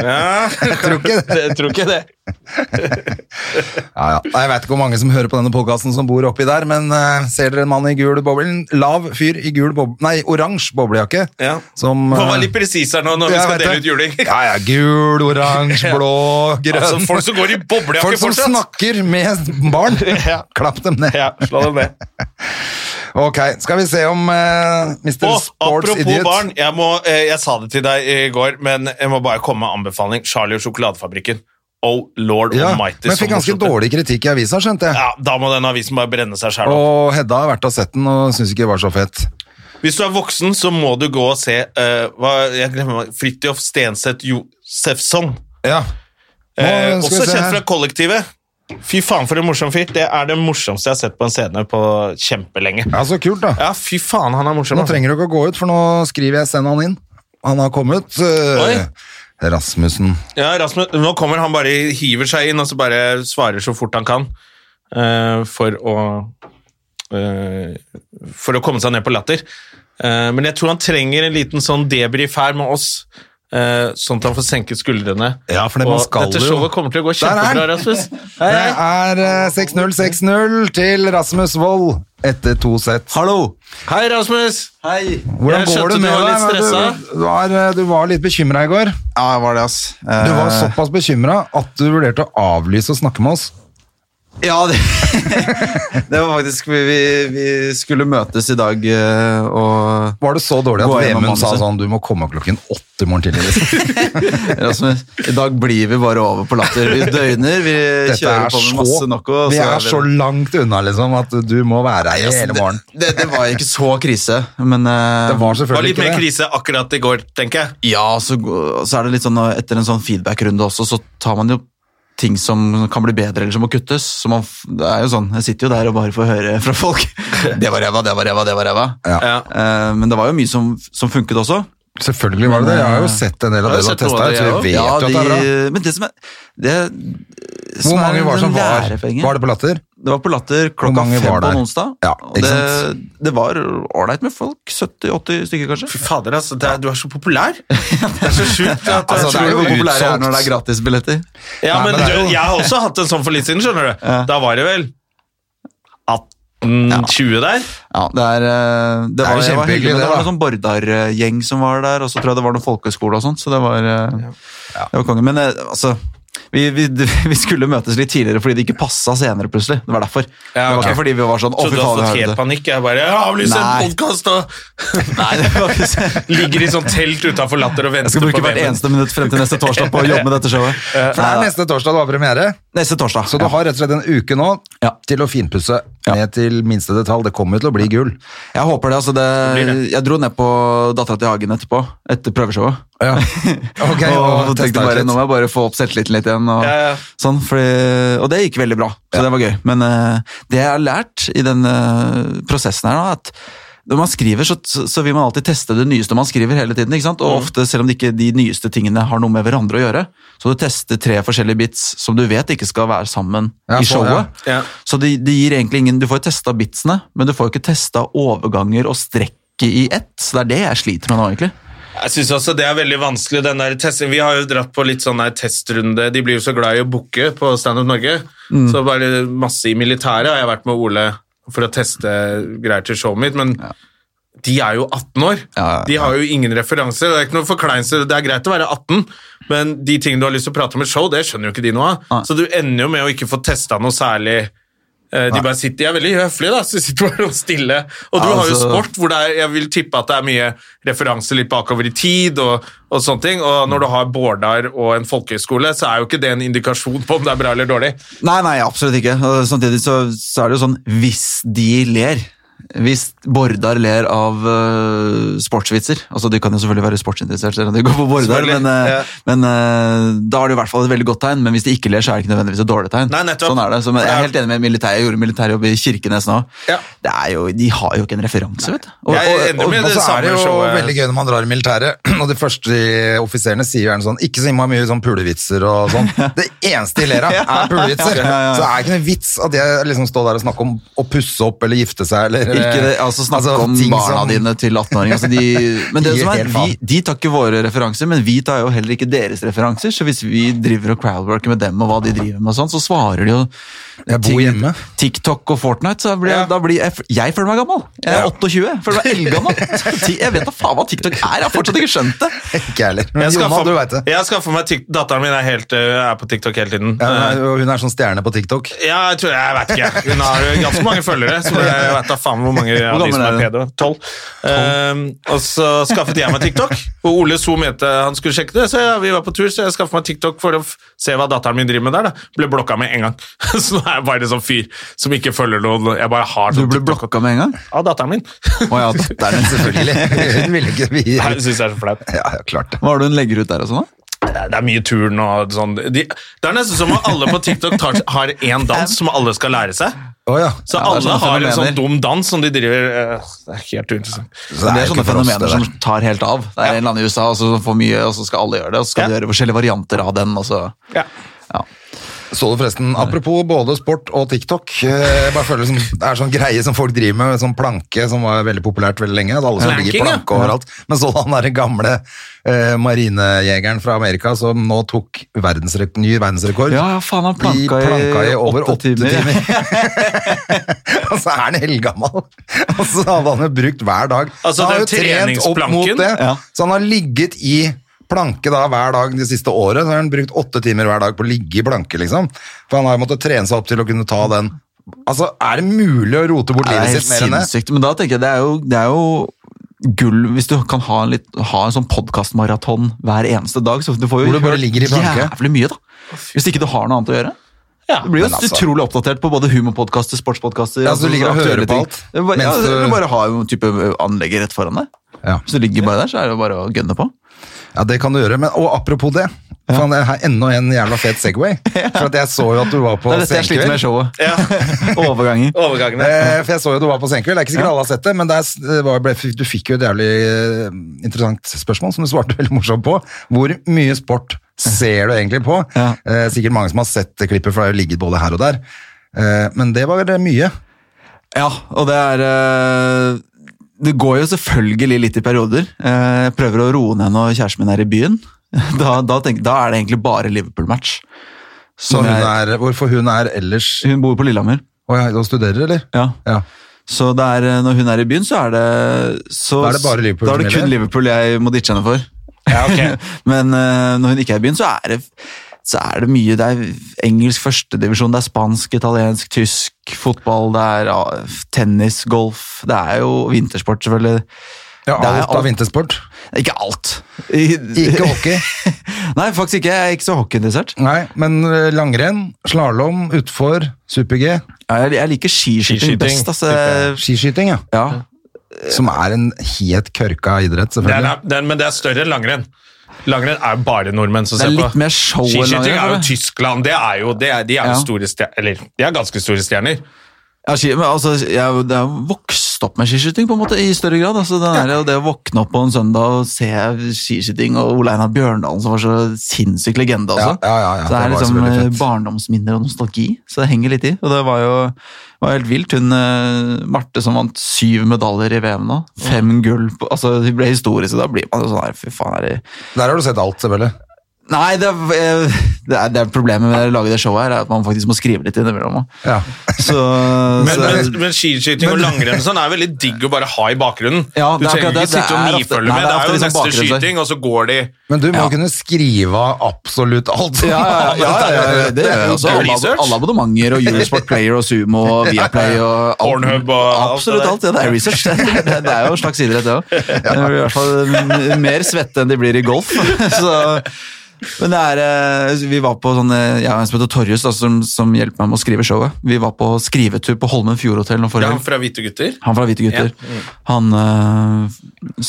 Speaker 2: Ja. Jeg
Speaker 1: tror ikke det.
Speaker 2: Jeg tror ikke det.
Speaker 1: Ja, ja. Nei, Jeg veit ikke hvor mange som hører på denne podkasten som bor oppi der, men eh, ser dere en mann i gul boble? En lav fyr i gul boble... Nei, oransje boblejakke.
Speaker 2: Ja.
Speaker 1: Som
Speaker 2: Må
Speaker 1: eh,
Speaker 2: være litt presis her nå når vi
Speaker 1: jeg
Speaker 2: skal
Speaker 1: vet
Speaker 2: dele
Speaker 1: det.
Speaker 2: ut juling.
Speaker 1: Ja, ja, gul, oransje, blå, grønn.
Speaker 2: Altså, folk som går i boblejakke
Speaker 1: Folk som
Speaker 2: fortsatt.
Speaker 1: snakker med barn.
Speaker 2: Ja.
Speaker 1: Klapp dem ned.
Speaker 2: Ja, slå dem ned.
Speaker 1: Ok, skal vi se om eh, Mr.
Speaker 2: Og
Speaker 1: Sports
Speaker 2: apropos
Speaker 1: Idiot
Speaker 2: barn, jeg, må, eh, jeg sa det til deg i går, men jeg må bare komme med anbefaling. Charlie og sjokoladefabrikken. Oh lord
Speaker 1: ja,
Speaker 2: almighty.
Speaker 1: Men
Speaker 2: så
Speaker 1: fikk ganske
Speaker 2: morsomt.
Speaker 1: dårlig kritikk i avisa, skjønte jeg.
Speaker 2: Ja, Da må den avisen bare brenne seg sjæl opp.
Speaker 1: Og Hedda har vært og sett den og syns ikke det var så fett.
Speaker 2: Hvis du er voksen, så må du gå og se eh, hva, jeg glemmer, hva- Fridtjof Stenseth Josefsson.
Speaker 1: Ja, Nå skal vi
Speaker 2: Eh, også
Speaker 1: se
Speaker 2: kjent
Speaker 1: her.
Speaker 2: fra Kollektivet. Fy faen, for en morsom fyr. Det er det morsomste jeg har sett på en scene på kjempelenge.
Speaker 1: ja så kult, da.
Speaker 2: Ja, fy faen, han er morsom.
Speaker 1: Nå
Speaker 2: altså.
Speaker 1: trenger du ikke å gå ut, for nå skriver jeg 'send han inn'. Han har kommet. eh, Rasmussen.
Speaker 2: Ja, Rasmus, nå kommer han bare hiver seg inn og så bare svarer så fort han kan eh, for å eh, for å komme seg ned på latter. Eh, men jeg tror han trenger en liten sånn debrief her med oss, eh, sånn at han får senket skuldrene.
Speaker 1: Ja, for det
Speaker 2: og
Speaker 1: man skal
Speaker 2: dette
Speaker 1: jo.
Speaker 2: showet kommer til å gå
Speaker 1: Der er han!
Speaker 2: kjempebra, Rasmus. Hei,
Speaker 1: Det
Speaker 2: hei.
Speaker 1: er eh, 6-0, 6-0 til Rasmus Wold etter to sett.
Speaker 2: Hallo! Hei, Rasmus!
Speaker 3: Hei!
Speaker 1: Hvordan
Speaker 2: Jeg
Speaker 1: går det
Speaker 2: skjønte du
Speaker 1: med
Speaker 2: var litt
Speaker 1: deg?
Speaker 2: stressa.
Speaker 1: Du, du, var, eh, du var litt bekymra i går.
Speaker 3: Ja, jeg var det, ass. Eh,
Speaker 1: Du var såpass bekymra at du vurderte å avlyse å snakke med oss.
Speaker 3: Ja, det, det var faktisk vi, vi, vi skulle møtes i dag, eh, og
Speaker 1: Var det så dårlig at
Speaker 3: Gå gjennom
Speaker 1: Vemund sa
Speaker 3: manuset.
Speaker 1: sånn Du må komme klokken åtte i morgen tidlig. liksom.
Speaker 3: Rasmus, altså, i dag blir vi bare over på latter. Vi døgner, vi
Speaker 1: Dette
Speaker 3: kjører
Speaker 1: er
Speaker 3: på med
Speaker 1: så,
Speaker 3: masse noe.
Speaker 1: vi
Speaker 3: og så
Speaker 1: er
Speaker 3: vi- Altså,
Speaker 1: så langt unna liksom at du må være her hele morgenen.
Speaker 3: Det, det, det var ikke så krise, men eh,
Speaker 1: Det var
Speaker 2: Det var
Speaker 1: selvfølgelig
Speaker 2: litt mer
Speaker 1: ikke det.
Speaker 2: krise akkurat i går, tenker jeg.
Speaker 3: Ja, så, gå- så er det litt sånn eh, etter en sånn feedback-runde også, så tar man jo ting som kan bli bedre eller som må kuttes. Så man, f- det er jo sånn, jeg sitter jo der og bare får høre fra folk. Det var ræva, det var ræva, det var ræva.
Speaker 2: Ja.
Speaker 3: Eh, Men det var jo mye som, som funket også.
Speaker 1: Selvfølgelig var det det. Jeg har jo sett en del av det du
Speaker 2: Jeg har
Speaker 1: har
Speaker 2: sett noe
Speaker 1: testa.
Speaker 2: av det, jeg
Speaker 1: Så
Speaker 2: også.
Speaker 1: vi vet jo
Speaker 3: Ja,
Speaker 1: at det er bra.
Speaker 3: de- Men det som er det, som
Speaker 1: Hvor
Speaker 3: er
Speaker 1: mange var
Speaker 3: den
Speaker 1: som var?
Speaker 3: lærepenge-
Speaker 1: Var det på Latter?
Speaker 3: Det var på Latter
Speaker 1: Hvor
Speaker 3: klokka
Speaker 1: mange
Speaker 3: fem
Speaker 1: var
Speaker 3: på
Speaker 1: der?
Speaker 3: en onsdag.
Speaker 1: Ja,
Speaker 3: og
Speaker 1: ikke
Speaker 3: det,
Speaker 1: sant?
Speaker 3: det var ålreit med folk. 70-80 stykker, kanskje.
Speaker 2: Fy fader, altså. Det er, du er så populær. Det er så sjukt. At,
Speaker 1: Altså, det
Speaker 3: Jeg
Speaker 1: er
Speaker 3: tror
Speaker 1: jo
Speaker 3: hvor populære jeg er
Speaker 1: utsolgt.
Speaker 3: når det er gratisbilletter.
Speaker 2: Ja,
Speaker 1: Nei,
Speaker 2: men,
Speaker 1: men det er
Speaker 2: du,
Speaker 1: jo-
Speaker 2: jeg har også hatt en sånn for litt siden, skjønner du. Da var det vel 18-20 Mm, der.
Speaker 3: Ja, det er, eh, det
Speaker 1: er
Speaker 3: var,
Speaker 1: jo
Speaker 3: jeg
Speaker 1: kjempehyggelig,
Speaker 3: var heldig,
Speaker 1: det,
Speaker 3: men det var en
Speaker 1: da.
Speaker 3: sånn Bordar-gjeng som var der, og så tror jeg det var noen folkehøyskole og sånt, så det var, eh, det var konge. Men eh, altså, vi, vi, vi skulle møtes litt tidligere fordi det ikke passa senere plutselig. Det var derfor.
Speaker 2: Ja,
Speaker 3: det var
Speaker 2: ok.
Speaker 3: ikke fordi vi var sånn, å
Speaker 2: Så
Speaker 3: fy
Speaker 2: du har
Speaker 3: faen,
Speaker 2: fått
Speaker 3: vi
Speaker 2: helt
Speaker 3: hørte det.
Speaker 2: panikk. Jeg bare jeg avlyser
Speaker 3: Nei.
Speaker 2: en podkast og
Speaker 3: Nei, det var ikke så-
Speaker 2: ligger i sånn telt utafor Latter og
Speaker 3: Jeg
Speaker 2: venter
Speaker 3: skal
Speaker 2: på
Speaker 3: bruke hvert
Speaker 2: VM-en.
Speaker 3: eneste minutt frem til neste torsdag på å jobbe med dette showet.
Speaker 1: For det er
Speaker 3: Nei,
Speaker 1: neste torsdag det var premiere,
Speaker 3: Neste torsdag.
Speaker 1: så du har rett og slett en uke nå
Speaker 3: Ja.
Speaker 1: til å finpusse
Speaker 3: Ja.
Speaker 1: ned til minste detalj. Det kommer jo til å bli gull.
Speaker 3: Jeg håper det. altså det,
Speaker 2: blir det.
Speaker 3: Jeg dro ned på dattera til Hagen etterpå, etter prøveshowet.
Speaker 1: Ja. Ok,
Speaker 3: og
Speaker 1: og
Speaker 3: tenkte
Speaker 1: testa ut
Speaker 3: bare,
Speaker 1: litt.
Speaker 3: Nå må jeg bare få opp selvtilliten litt igjen. Og,
Speaker 2: Ja, ja.
Speaker 3: Sånn, fordi, og det gikk veldig bra, så det var gøy. Men eh, det jeg har lært i den eh, prosessen her, da, at når man skriver, så, så så vil man alltid teste det nyeste man skriver hele tiden. ikke sant? Og
Speaker 2: Mm.
Speaker 3: ofte, selv om det ikke de nyeste tingene har noe med hverandre å gjøre, så du tester tre forskjellige bits som du vet ikke skal være sammen
Speaker 1: Ja,
Speaker 3: i
Speaker 1: så- ja.
Speaker 3: showet.
Speaker 2: Ja.
Speaker 3: Så det, det gir egentlig ingen Du får jo testa bitsene, men du får jo ikke testa overganger og strekket i ett. Så det er det jeg sliter med nå, egentlig.
Speaker 2: Jeg synes også det er veldig vanskelig, den der testen. Vi har jo dratt på litt sånn der testrunde. De blir jo så glad i å booke på Stand Up Norge.
Speaker 3: Mm.
Speaker 2: Så bare masse i militæret har jeg vært med Ole for å teste greier til showet mitt, men de er jo 18 år.
Speaker 3: Ja, ja.
Speaker 2: De har jo ingen referanser. Det er ikke noe forkleinelse. Det er greit å være 18, men de tingene du har lyst til å prate om i et show, det skjønner jo ikke de noe av.
Speaker 3: Nei.
Speaker 2: Så du ender jo med å ikke få testa noe særlig Eh, De bare sitter, De er veldig høflige, da, så de sitter bare og stille. Og du
Speaker 3: Ja,
Speaker 2: har jo
Speaker 3: altså-
Speaker 2: sport hvor det er, jeg vil tippe at det er mye referanser litt bakover i tid. og, og sånne ting. Og når du har Bårdar og en folkehøyskole, så er jo ikke det en indikasjon på om det er bra eller dårlig.
Speaker 3: Nei, nei, absolutt ikke. Og Samtidig så, så er det jo sånn, hvis de ler hvis Bordar ler av øh, sportsvitser Altså, De kan jo selvfølgelig være sportsinteressert, selv om de går på Bordar,
Speaker 2: Selvfølgelig,
Speaker 3: men, øh,
Speaker 2: ja.
Speaker 3: men øh, da er det i hvert fall et veldig godt tegn. Men hvis de ikke ler, så er det ikke nødvendigvis et dårlig tegn.
Speaker 2: Nei, nettopp.
Speaker 3: sånn er det. Så, men jeg
Speaker 2: Ja.
Speaker 3: er helt enig med militæret. Jeg gjorde militærjobb i Kirkenes nå.
Speaker 2: Ja.
Speaker 3: Det er jo, de har jo ikke en referanse, vet du. Og-
Speaker 2: Jeg er enig med
Speaker 1: Og
Speaker 2: det
Speaker 1: så er
Speaker 2: samme
Speaker 1: det jo
Speaker 2: showet.
Speaker 1: veldig gøy når man drar i militæret, og de første offiserene sier gjerne sånn Ikke så innmari mye sånn pulevitser og sånn. Det eneste de ler av, er pulevitser.
Speaker 3: ja, ja.
Speaker 1: Så det er ikke noe vits at jeg liksom står der og snakker om å pusse opp eller gifte seg eller
Speaker 3: Ikke det, altså snakke
Speaker 1: Eh, altså,
Speaker 3: om
Speaker 1: ting
Speaker 3: barna
Speaker 1: som-
Speaker 3: dine til 18-åringer. Altså de, men det
Speaker 1: Gir
Speaker 3: som er,
Speaker 1: helt
Speaker 3: vi,
Speaker 1: faen.
Speaker 3: de tar ikke våre referanser, men vi tar jo heller ikke deres referanser. Så hvis vi driver og crowdworker med dem og hva de driver med, og sånn, så svarer de jo
Speaker 1: Jeg bor
Speaker 3: ting-
Speaker 1: hjemme.
Speaker 3: TikTok og Fortnite. Så blir, jeg-
Speaker 2: Ja.
Speaker 3: da blir jeg, jeg føler meg gammel. Jeg er 28. Jeg føler meg eldgammel. Ti- Jeg vet da faen hva TikTok er. Jeg har fortsatt ikke skjønt det.
Speaker 1: Ikke jeg heller. Men
Speaker 2: Jeg skal
Speaker 1: Jonna,
Speaker 2: få-
Speaker 1: du veit det.
Speaker 2: Jeg skaffer meg tik- Datteren min er, helt, øh, er på TikTok hele tiden.
Speaker 1: Ja,
Speaker 2: Eh,
Speaker 1: hun er- hun er sånn stjerne på TikTok.
Speaker 2: Ja, jeg tror Jeg vet ikke. Hun har jo ganske mange følgere. Så jeg vet da faen hvor mange av de
Speaker 3: gammel
Speaker 2: som er
Speaker 3: er hun?
Speaker 2: pedo. Tolv. Ehm, og så skaffet jeg meg TikTok. Og Ole So mente han skulle sjekke det, så ja, vi var på tur, så jeg skaffet meg TikTok for å f- se hva datteren min driver med der. da. Ble blokka med en gang. Så nå er jeg bare en sånn fyr som ikke følger noen. Jeg bare har
Speaker 3: Du
Speaker 2: sånn
Speaker 3: ble
Speaker 2: TikTok
Speaker 3: blokka med en gang?
Speaker 2: av datteren min.
Speaker 3: Å ja, datteren din, selvfølgelig.
Speaker 1: Hun ville ikke vi
Speaker 2: Nei,
Speaker 1: Ja,
Speaker 2: Det syns jeg er så flaut.
Speaker 1: ja, klart det.
Speaker 3: Hva er det hun legger ut der og sånn, da?
Speaker 2: Det er mye turn og sånn. De, det er nesten som om alle på TikTok tar, har én dans som alle skal lære seg.
Speaker 1: Å ja.
Speaker 2: Så
Speaker 3: Ja, det er
Speaker 2: alle
Speaker 3: sånne
Speaker 2: har en
Speaker 3: fenomener.
Speaker 2: sånn dum dans som de driver eh, Det er helt uinteressant.
Speaker 1: Så
Speaker 3: Men det
Speaker 1: jo
Speaker 3: er
Speaker 1: ikke
Speaker 3: sånne
Speaker 1: for oss, det
Speaker 3: fenomener
Speaker 1: der.
Speaker 3: som tar helt av. Det er en eller annen i USA og så får mye, og så skal alle gjøre det. Og så skal de
Speaker 2: Ja.
Speaker 3: gjøre forskjellige varianter av den. Og så.
Speaker 2: Ja.
Speaker 3: Ja.
Speaker 1: Så du forresten, apropos både sport og TikTok, eh, jeg bare føler det som, det er sånn greie som folk driver med, sånn planke som var veldig populært veldig lenge, at alle som ligger i
Speaker 2: Planking, ja.
Speaker 1: planke overalt. Men så han der gamle eh, marinejegeren fra Amerika som nå tok verdensrek ny verdensrekord.
Speaker 3: Ja, ja, faen, han
Speaker 1: De
Speaker 3: planka i
Speaker 1: over
Speaker 3: åtte
Speaker 1: åtte
Speaker 3: timer.
Speaker 1: timer. og så er han eldgammel. Og så hadde han jo brukt hver dag.
Speaker 2: Altså,
Speaker 1: Så han har jo
Speaker 2: den
Speaker 1: trent opp mot
Speaker 2: treningsplanken,
Speaker 1: det.
Speaker 3: ja.
Speaker 1: Så han har ligget i planke da hver dag de siste året. Så har han brukt åtte timer hver dag på å ligge i planke, liksom. For han har jo måttet trene seg opp til å kunne ta den. Altså, er det mulig å rote bort
Speaker 3: Det er
Speaker 1: livet
Speaker 3: helt
Speaker 1: sitt mer enn det?
Speaker 3: sinnssykt. Men da tenker jeg det er jo, det er jo gull hvis du kan ha en, litt, ha en sånn podkastmaraton hver eneste dag. Så du får jo
Speaker 1: Hvor du bare ligger i planke.
Speaker 3: jævlig mye, da. Hvis ikke du har noe annet å gjøre.
Speaker 2: Ja,
Speaker 3: Du blir jo
Speaker 1: men altså-
Speaker 3: utrolig oppdatert på både altså, humorpodkaster, sportspodkaster
Speaker 1: Ja, så du ligger og hører på alt,
Speaker 3: Du bare, ja,
Speaker 1: mens du-
Speaker 3: du bare har jo en type anlegger rett foran deg.
Speaker 1: Ja.
Speaker 3: Hvis du ligger bare der, så er det jo bare å gønne på.
Speaker 1: Ja, det kan du gjøre. Men, og apropos det, faen, det er enda en jævla fet Segway. For at jeg så jo at du var på
Speaker 3: Det er dette jeg sliter med i showet.
Speaker 2: Ja,
Speaker 3: Overganger.
Speaker 2: Overgangene.
Speaker 1: Eh, For jeg så jo du var på Senkveld, det er ikke sikkert alle har sett det, men det er s- det var, ble, du fikk jo et jævlig eh, interessant spørsmål som du svarte veldig morsomt på. Hvor mye sport ser du egentlig på?
Speaker 3: Ja.
Speaker 1: Eh, Sikkert mange som har sett det klippet, for det har jo ligget både her og der. Eh, Men det var vel mye.
Speaker 3: Ja, og det er eh, Det går jo selvfølgelig litt i perioder. Eh, Jeg prøver å roe ned når kjæresten min er i byen. Da, da, tenk, da er det egentlig bare Liverpool-match.
Speaker 1: Så
Speaker 3: Som
Speaker 1: hun
Speaker 3: jeg-
Speaker 1: er, hvorfor hun er ellers Å
Speaker 3: Hun bor på Lillehammer.
Speaker 1: ja, hun studerer, eller?
Speaker 3: Ja.
Speaker 1: Ja.
Speaker 3: Så det er, eh, når hun er i byen, så er det så,
Speaker 1: Da er det bare Liverpool
Speaker 3: Da er det
Speaker 1: som
Speaker 3: kun
Speaker 1: gjelder.
Speaker 3: Liverpool jeg må ditche henne for.
Speaker 2: Ja, ok.
Speaker 3: Men eh, når hun ikke er i byen, så er det, så er det mye. Det er engelsk førstedivisjon, det er spansk, italiensk, tysk, fotball, det er ja, tennis, golf. Det er jo vintersport, selvfølgelig.
Speaker 1: Ja,
Speaker 3: Det er
Speaker 1: alt av
Speaker 3: alt.
Speaker 1: vintersport.
Speaker 3: Ikke alt.
Speaker 1: Ikke hockey.
Speaker 3: Nei, faktisk ikke. Jeg er ikke så hockeyinteressert.
Speaker 1: Nei, men eh, langrenn, slalåm, utfor, super-G,
Speaker 3: Jeg, jeg liker skiskyting
Speaker 2: Skiskyting,
Speaker 3: best. Altså.
Speaker 1: skiskyting, ja.
Speaker 3: Ja.
Speaker 1: Som er en helt kørka idrett,
Speaker 2: Det er,
Speaker 1: selvfølgelig.
Speaker 2: det er- men det er større enn langrenn. Langrenn er bare nordmenn som
Speaker 3: Det
Speaker 2: ser
Speaker 3: er
Speaker 2: på.
Speaker 3: litt mer show enn
Speaker 2: Skiskyting
Speaker 3: langrenn,
Speaker 2: er jo
Speaker 3: eller?
Speaker 2: Tyskland. Det er jo, det er, de er jo
Speaker 3: Ja.
Speaker 2: store stjer- Eller, de er ganske store stjerner.
Speaker 3: Ja, ski, men altså, jeg er jo- det er jo vokst opp med skiskyting på en måte, i større grad. Altså, den der, det å våkne opp på en søndag og se skiskyting og Ole Einar Bjørndalen, som var så sinnssyk legende. Altså.
Speaker 1: Ja, ja, ja, ja,
Speaker 3: så det
Speaker 1: det var
Speaker 3: er liksom
Speaker 1: så veldig
Speaker 3: eh,
Speaker 1: fett.
Speaker 3: barndomsminner og nostalgi, så det henger litt i. Og det var jo var helt vilt. Hun, eh, Marte som vant syv medaljer i VM nå, fem gull. På, altså, Hun ble historisk, og da blir man jo sånn her, fy faen er det
Speaker 1: Der har du sett alt, selvfølgelig.
Speaker 3: Nei, det er, eh, det er, det er problemet med å lage det showet her, er at man faktisk må skrive litt innimellom. også.
Speaker 1: Ja.
Speaker 3: Så,
Speaker 2: Men,
Speaker 3: så
Speaker 2: men, men skiskyting og langrenn og sånn er veldig digg å bare ha i bakgrunnen.
Speaker 3: Ja,
Speaker 2: du
Speaker 3: det er
Speaker 2: trenger
Speaker 3: akkurat
Speaker 2: ikke
Speaker 3: det. Det
Speaker 2: sitte og
Speaker 3: er ofte-
Speaker 2: nifølge
Speaker 3: nei,
Speaker 2: med.
Speaker 3: det
Speaker 2: Det er
Speaker 3: er ofte
Speaker 2: jo
Speaker 3: litt sånn
Speaker 2: neste
Speaker 3: bakgrunnsstøy.
Speaker 2: skyting, og så går de
Speaker 1: Men du må
Speaker 3: Ja.
Speaker 1: kunne skrive av absolutt alt. som
Speaker 3: ja, ja, ja,
Speaker 1: er-
Speaker 3: ja, ja, det gjør jeg også.
Speaker 2: Det er jo
Speaker 3: Alle,
Speaker 2: research.
Speaker 3: alle abonnementer og Eurosport Player og Sumo og Viaplay og alt.
Speaker 2: Pornhub og alt det
Speaker 3: Absolutt
Speaker 2: der.
Speaker 3: alt. Ja, det er research. Det er, det er jo en slags idrett, det òg. Det blir i hvert fall m- mer svette enn de blir i golf. Så, men det er eh, Vi var på sånn eh, Jeg og en som heter Torjus, da, som, som hjelper meg med å skrive showet. Vi var på skrivetur på Holmen Fjordhotell nå
Speaker 2: Ja,
Speaker 3: forrige
Speaker 2: han
Speaker 3: helg.
Speaker 2: fra Hvite gutter.
Speaker 3: Han fra Hvite gutter.
Speaker 1: Mm.
Speaker 3: Han eh,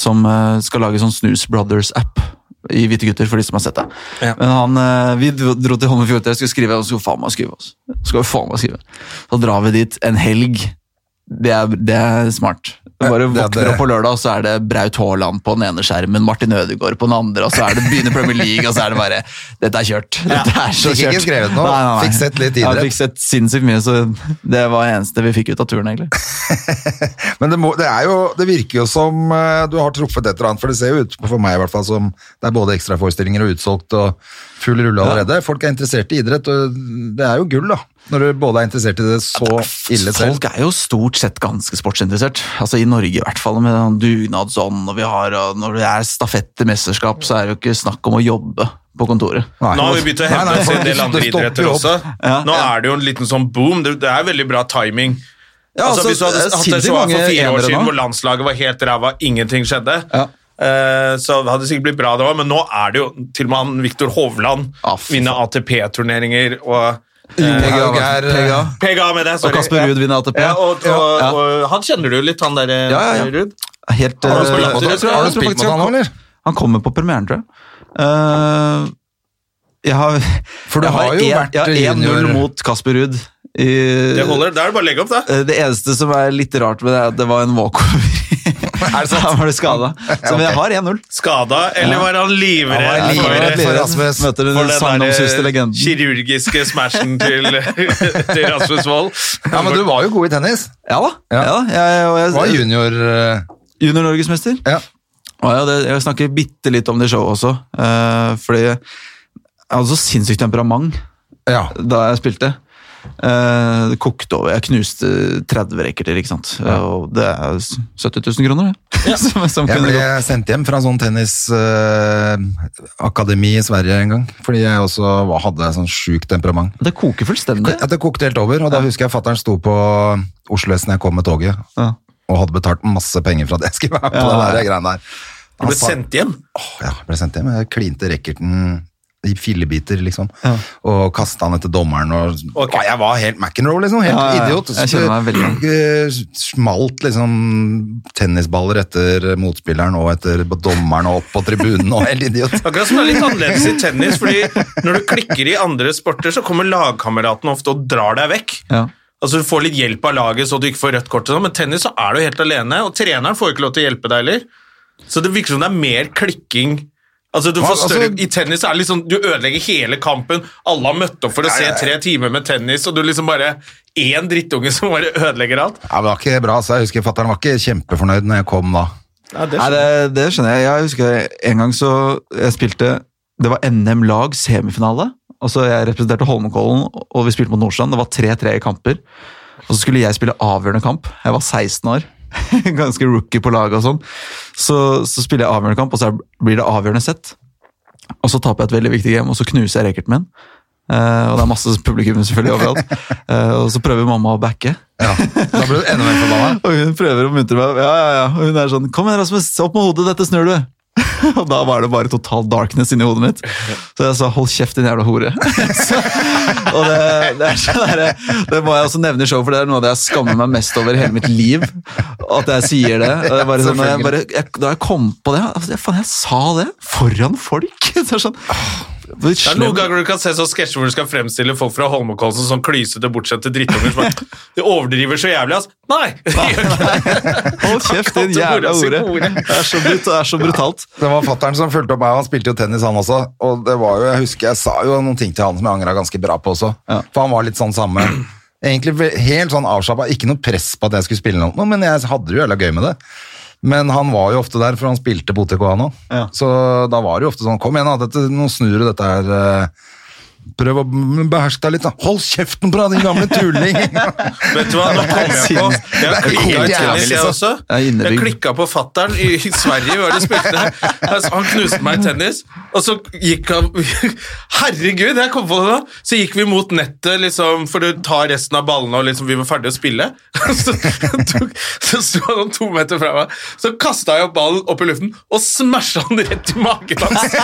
Speaker 3: som eh, skal lage sånn Snus Brothers-app i Hvite gutter, for de som har sett det.
Speaker 2: Ja.
Speaker 3: Men han, eh, vi dro dro til Holmen Fjordhotell, skulle skrive, og skulle faen meg skrive. Også. Skulle faen meg skrive. Så drar vi dit en helg. Det er, det er smart. Du bare
Speaker 1: det er
Speaker 3: våkner
Speaker 1: det.
Speaker 3: opp på lørdag, og så er det Braut Haaland på den ene skjermen, Martin Ødegaard på den andre, og så er det begynner Premier League, og så er det bare Dette er kjørt. Dette er så
Speaker 1: Fikk
Speaker 3: kjørt.
Speaker 1: ikke skrevet noe. Fikk sett litt
Speaker 3: Ja,
Speaker 1: idrett.
Speaker 3: fikk sett sinnssykt mye, så det var det eneste vi fikk ut av turen, egentlig.
Speaker 1: Men det, må, det, er jo, det virker jo som eh, du har truffet et eller annet, for det ser jo ut for meg i hvert fall som det er både ekstraforestillinger og utsolgt og full rulle allerede. Folk er interessert i idrett, og det er jo gull da, når du både er interessert i det så ille selv.
Speaker 3: Folk er jo stort sett ganske sportsinteressert. Altså I Norge i hvert fall, med den dugnadsånden og vi har, og når det er stafett til mesterskap, så er det jo ikke snakk om å jobbe på kontoret.
Speaker 1: Nei.
Speaker 2: Nå har vi begynt å hevne
Speaker 1: Nei, nei,
Speaker 2: oss i en
Speaker 1: folk-
Speaker 2: del andre
Speaker 1: det stopper
Speaker 2: idretter
Speaker 1: jo
Speaker 2: også.
Speaker 1: opp.
Speaker 3: Ja.
Speaker 2: Nå er det jo en liten sånn boom. Det, det er veldig bra timing.
Speaker 3: Ja,
Speaker 2: altså,
Speaker 3: altså,
Speaker 2: hvis du hadde
Speaker 3: det er
Speaker 2: hatt det
Speaker 3: sinnssykt
Speaker 2: så for
Speaker 3: mange
Speaker 2: fire år
Speaker 3: enere
Speaker 2: siden,
Speaker 3: nå.
Speaker 2: hvor landslaget var helt ræva, ingenting skjedde,
Speaker 3: Ja.
Speaker 2: eh, så hadde det sikkert blitt bra det òg, men nå er det jo til og med han Viktor Hovland
Speaker 3: Ja, Ah, fy
Speaker 2: vinner ATP-turneringer og
Speaker 1: Pega,
Speaker 3: Eh, Pega,
Speaker 1: Pega.
Speaker 3: Pega.
Speaker 2: PGA med deg,
Speaker 3: Og
Speaker 2: sorry.
Speaker 3: Kasper Ruud vinner ATP.
Speaker 2: Ja, og, og,
Speaker 3: Ja.
Speaker 2: og han kjenner du jo litt, han der eh,
Speaker 3: Ja, ja, ja.
Speaker 2: Ruud.
Speaker 3: Helt,
Speaker 1: Har du
Speaker 3: eh,
Speaker 2: spilt mot han?
Speaker 3: jeg tror-
Speaker 2: Har du
Speaker 3: jeg tror
Speaker 1: spilt
Speaker 3: faktisk
Speaker 1: mot han nå,
Speaker 3: kom-
Speaker 1: eller?
Speaker 3: Han kommer på premieren, tror jeg. Eh, jeg har,
Speaker 1: For du
Speaker 3: jeg
Speaker 1: har jo
Speaker 3: en-
Speaker 1: vært
Speaker 3: jeg har 1-0
Speaker 1: junior-
Speaker 3: mot Kasper Ruud. i-
Speaker 2: Det holder. Da er det bare å legge opp, da.
Speaker 3: Eh, Det eneste som er litt rart med det, er at det var en walkover.
Speaker 1: Er det sant?
Speaker 3: Da var det skada. Så men jeg har 1-0.
Speaker 2: Skada, eller var han livredd?
Speaker 1: Han var
Speaker 2: for-
Speaker 1: livredd for Rasmus.
Speaker 3: Møter
Speaker 2: for
Speaker 3: den
Speaker 2: den
Speaker 3: sagnomsuste
Speaker 2: der, eh,
Speaker 3: legenden.
Speaker 2: kirurgiske smashen til, til Rasmus Wold.
Speaker 1: Ja, men du var jo god i tennis.
Speaker 3: Ja da.
Speaker 1: Ja.
Speaker 3: Ja. da. Jeg, og
Speaker 1: Du var
Speaker 3: jeg,
Speaker 1: junior... eh,
Speaker 3: Junior-norgesmester.
Speaker 1: Ja.
Speaker 3: Og jeg, det- jeg snakker bitte litt om det i showet også, eh, fordi jeg hadde så sinnssykt temperament
Speaker 1: ja.
Speaker 3: da jeg spilte. Eh, det kokte over. Jeg knuste 30 racketer, ikke sant. Og det er 70 000 kroner, det. som, som
Speaker 1: Jeg
Speaker 3: kunne
Speaker 1: ble
Speaker 3: gå.
Speaker 1: sendt hjem fra en sånn tennisakademi i Sverige en gang, fordi jeg også var- hadde sånn sjukt temperament.
Speaker 3: Det koker fullstendig.
Speaker 1: At det kokte helt over, og da husker jeg fatteren sto på Oslo S når jeg kom med toget,
Speaker 3: Ja.
Speaker 1: og hadde betalt masse penger for at jeg skulle være med på
Speaker 3: Ja,
Speaker 1: den
Speaker 3: ja.
Speaker 1: der greiene der.
Speaker 2: Du ble sendt hjem.
Speaker 1: Åh, ja, ble sendt hjem. Jeg klinte racketen i fillebiter, liksom, og kastet han etter dommeren, og
Speaker 2: Ok.
Speaker 1: Åh, jeg var helt McEnroe, liksom, helt
Speaker 3: Ja, ja, ja.
Speaker 1: idiot.
Speaker 3: Jeg kjenner meg veldig
Speaker 1: Eh, Smalt, liksom, tennisballer etter motspilleren, og etter dommeren, og opp på tribunen, og helt idiot.
Speaker 2: Akkurat som det er litt annerledes i tennis, fordi når du klikker i andre sporter, så kommer lagkameraten ofte og drar deg vekk.
Speaker 3: Ja.
Speaker 2: Altså Du får litt hjelp av laget, så du ikke får rødt kort, og sånn, men tennis så er du helt alene, og treneren får ikke lov til å hjelpe deg heller. Så det virker som det er mer klikking. Altså du
Speaker 1: Hva,
Speaker 2: får større,
Speaker 1: altså-
Speaker 2: I tennis er det liksom, du ødelegger hele kampen. Alle har møtt opp for å se tre timer med tennis, og du liksom bare Én drittunge som bare ødelegger alt.
Speaker 1: Ja, men det var ikke bra, så jeg husker fatteren var ikke kjempefornøyd når jeg kom da.
Speaker 3: Nei, det, det skjønner jeg. Jeg husker en gang så jeg spilte Det var NM-lag semifinale. Altså Jeg representerte Holmenkollen, og vi spilte mot Nordstrand. Det var 3-3 i kamper. Og så skulle jeg spille avgjørende kamp. Jeg var 16 år. Ganske rookie på laget og sånn. Så, så spiller jeg avgjørende kamp, og så er- blir det avgjørende sett. Og så taper jeg et veldig viktig game, og så knuser jeg racketen min. Eh, og det er masse publikum selvfølgelig overalt. Eh, og så prøver mamma å backe.
Speaker 1: Ja, da ble du enda mer forbanna.
Speaker 3: Og hun prøver å muntre meg. Ja, ja, ja. Og hun er sånn Kom igjen, Rasmus. Opp med hodet. Dette snur du. Og da var det bare total darkness inni hodet mitt. Så jeg sa 'hold kjeft, din jævla hore'. så, og det, det, er sånn der, det må jeg også nevne i showet, for det er noe av det jeg skammer meg mest over i hele mitt liv. At jeg sier det. Og det er bare sånn, når jeg bare, jeg, da jeg kom på det altså, jeg, Faen, jeg sa det foran folk! Så det er sånn, hvor
Speaker 2: Det er noen
Speaker 3: slem-
Speaker 2: ganger du kan se sånn sketsjer hvor du skal fremstille folk fra Holmenkollen som sånn klysete, bortskjemte drittunger som bare De overdriver så jævlig, ass. Nei! de gjør ikke det.
Speaker 3: Hold kjeft, din
Speaker 2: Akkurat
Speaker 3: jævla
Speaker 2: hora sin
Speaker 3: hore!
Speaker 2: hore.
Speaker 3: Det er så, brut, det er så brutalt.
Speaker 1: Det var fatteren som fulgte opp meg, og han spilte jo tennis han også. Og det var jo, jeg husker jeg sa jo noen ting til han som jeg angra ganske bra på også.
Speaker 3: Ja.
Speaker 1: For han var litt sånn samme. Egentlig ve- helt sånn avslappa, ikke noe press på at jeg skulle spille noe, men jeg hadde det jo jævla gøy med det. Men han var jo ofte der, for han spilte på OTK han også.
Speaker 3: Ja.
Speaker 1: Så da var det jo ofte sånn, kom igjen da, dette, nå snur du dette her. eh, Prøv å beherske deg litt da. Hold kjeften på deg, din gamle tulling!
Speaker 2: Vet du hva, nå kom jeg på Jeg
Speaker 1: Det er helt
Speaker 2: klikka i
Speaker 1: jævlig,
Speaker 2: tennis, jeg
Speaker 1: liksom.
Speaker 2: også.
Speaker 3: Det er innebygd.
Speaker 2: Jeg klikka på fattern i Sverige, hvor de spilte der. Altså, Han knuste meg i tennis, og så gikk han Herregud, jeg kom på det nå! Så gikk vi mot nettet, liksom, for du tar resten av ballene, og liksom, vi var ferdige å spille. Så, tok, så sto han noen to meter fra meg, så kasta jeg opp ballen opp i luften og smasha han rett i magen hans!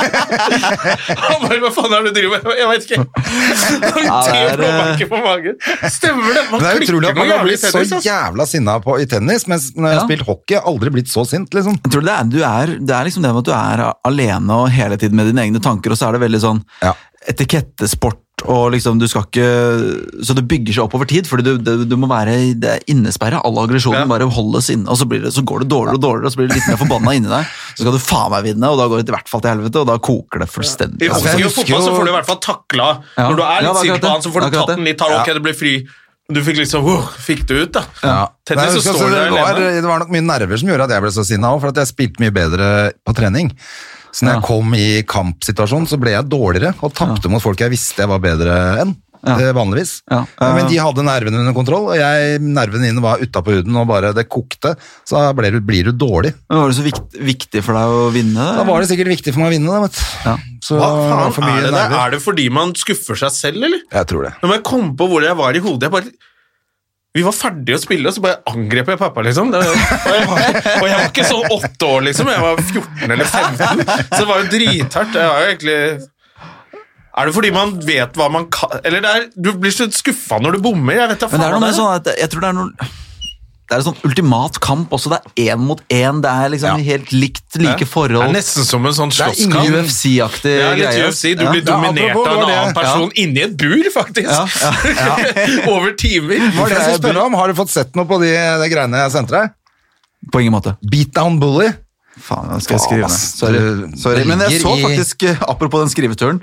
Speaker 2: Han bare Hva faen er det du driver med? Jeg veit ikke.
Speaker 3: Ja,
Speaker 2: Han
Speaker 3: det er,
Speaker 2: ja,
Speaker 1: eh,
Speaker 2: blåmerker på magen. Stemmer det! Man
Speaker 1: Men det er utrolig at
Speaker 2: klikker
Speaker 1: man
Speaker 2: noe
Speaker 1: har
Speaker 2: jævlig
Speaker 1: blitt
Speaker 2: i
Speaker 1: så
Speaker 2: tennis, ass.
Speaker 1: jævla sinna på, i tennis, mens når jeg har
Speaker 3: Ja.
Speaker 1: spilt hockey, jeg har aldri blitt så sint, liksom.
Speaker 3: Jeg tror det er, du er, det er liksom det med at du er alene og hele tiden med dine egne tanker, og så er det veldig sånn
Speaker 1: Ja.
Speaker 3: etikettesport, og liksom du skal ikke Så det bygger seg opp over tid, fordi du, du, du må være det er innesperra. All aggresjonen
Speaker 2: Ja.
Speaker 3: bare holdes inne, og så, blir det, så går det dårligere og dårligere, og så blir du litt mer forbanna inni deg. Så skal du faen meg vinne, og da går det i hvert fall til helvete, og da koker det
Speaker 2: I
Speaker 3: fullstendig.
Speaker 1: Ja,
Speaker 3: Altså,
Speaker 1: for jeg
Speaker 2: hockey og
Speaker 1: husker
Speaker 2: fotball så
Speaker 1: jo-
Speaker 2: får du i hvert fall takla.
Speaker 3: Ja.
Speaker 2: Når du er
Speaker 3: Ja,
Speaker 2: litt
Speaker 3: det er
Speaker 2: sint
Speaker 3: akkurat
Speaker 2: på han, så får
Speaker 3: det.
Speaker 2: du
Speaker 3: Det er
Speaker 2: tatt den litt. Tar, ok, det blir fri. Du fikk liksom wow, Fikk du ut, da?
Speaker 1: Nei,
Speaker 2: Tennis,
Speaker 1: jeg
Speaker 2: så
Speaker 1: husker
Speaker 2: står
Speaker 1: også,
Speaker 2: du der
Speaker 1: det, var, eh,
Speaker 2: alene.
Speaker 1: det var nok mye nerver som gjorde at jeg ble så sinna òg, for at jeg spilte mye bedre på trening. Så når jeg kom i kampsituasjonen, så ble jeg dårligere og tapte mot folk jeg visste jeg var bedre enn. eh, Vanligvis.
Speaker 3: Ja.
Speaker 1: Eh, Men de hadde nervene under kontroll, og jeg, nervene dine var utapå huden og bare det kokte. Så da ble du, blir du dårlig.
Speaker 3: Men var det så viktig, viktig for deg å vinne?
Speaker 1: Da var det sikkert viktig for meg å vinne, da, vet du.
Speaker 3: Ja.
Speaker 1: Så
Speaker 2: Hva
Speaker 1: det var for
Speaker 2: faen
Speaker 1: mye
Speaker 2: er det der?
Speaker 1: nerver.
Speaker 2: Er det fordi man skuffer seg selv, eller?
Speaker 1: Jeg tror det.
Speaker 2: Når jeg kom på hvor jeg var i hodet, jeg bare vi var ferdige å spille, og så bare angrep jeg pappa, liksom. Det, og, jeg var, og jeg var ikke så åtte år, liksom. Jeg var 14 eller 15, så det var jo drithardt. Jeg var jo egentlig Er det fordi man vet hva man kan Eller det er, du blir så skuffa når du bommer. Jeg vet da
Speaker 3: Men det er
Speaker 2: faen
Speaker 3: noe
Speaker 2: hva
Speaker 3: med sånn at jeg tror det er noe det er en sånn ultimat kamp også. Det er én mot én. Det er liksom helt likt, like
Speaker 2: Det er
Speaker 3: forhold.
Speaker 2: nesten som en sånn
Speaker 3: Det er ingen
Speaker 2: slåsskamp.
Speaker 3: UFC-aktig
Speaker 2: Ja, litt
Speaker 3: greie.
Speaker 2: UFC. Du
Speaker 3: Ja.
Speaker 2: blir
Speaker 1: Ja,
Speaker 2: dominert
Speaker 1: apropos,
Speaker 2: av en
Speaker 1: det var
Speaker 2: annen
Speaker 1: det.
Speaker 2: person inni et bur, faktisk.
Speaker 3: Ja,
Speaker 2: Over timer.
Speaker 1: Hva er det jeg skulle spørre om? Har du fått sett noe på de, de greiene jeg sendte deg?
Speaker 3: På ingen måte.
Speaker 1: Beatdown Bully?
Speaker 3: Faen, nå skal
Speaker 1: Faen,
Speaker 3: jeg skrive ned.
Speaker 1: ass.
Speaker 3: Sorry.
Speaker 1: Du-
Speaker 3: Sorry.
Speaker 1: det
Speaker 3: Men
Speaker 1: ligger
Speaker 3: jeg så
Speaker 1: i-
Speaker 3: faktisk, eh, apropos den skriveturen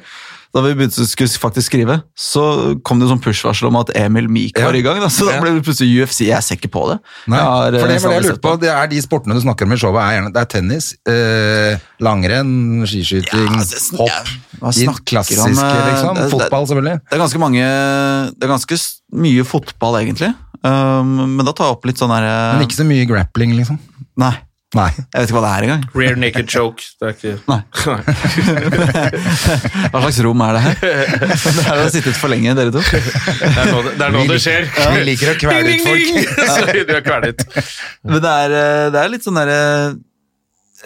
Speaker 3: da vi begynte å skulle faktisk skrive, så kom det jo sånn push-varsel om at Emil Meek var
Speaker 1: Ja.
Speaker 3: i gang. Da, så da
Speaker 1: Ja.
Speaker 3: ble det plutselig UFC. Jeg ser ikke på det.
Speaker 1: Nei,
Speaker 3: Jeg har, eh,
Speaker 1: for det var det jeg
Speaker 3: aldri
Speaker 1: lurte
Speaker 3: sett
Speaker 1: på. Det er de sportene du snakker om i showet. Er, gjerne- det er tennis, eh, langrenn, skiskyting,
Speaker 3: Ja, det sn-
Speaker 1: hopp.
Speaker 3: Hva
Speaker 1: De
Speaker 3: snakker
Speaker 1: klassiske,
Speaker 3: om, eh,
Speaker 1: liksom.
Speaker 3: det- det-
Speaker 1: Fotball, selvfølgelig.
Speaker 3: Det er ganske mange Det er ganske s- mye fotball, egentlig. Um, men da tar jeg opp litt sånn her eh,
Speaker 1: Men ikke så mye grappling, liksom.
Speaker 3: Nei,
Speaker 1: Nei.
Speaker 3: jeg vet ikke hva det er engang.
Speaker 2: Rear naked choke. Det er ikke
Speaker 3: Nei. Hva slags rom er det her? Det har sittet for lenge, dere to.
Speaker 2: Det er nå det, det, er nå det skjer.
Speaker 1: Vi liker å kvele ut folk.
Speaker 2: Så du er kvelet.
Speaker 3: Men det er, eh, det er litt sånn derre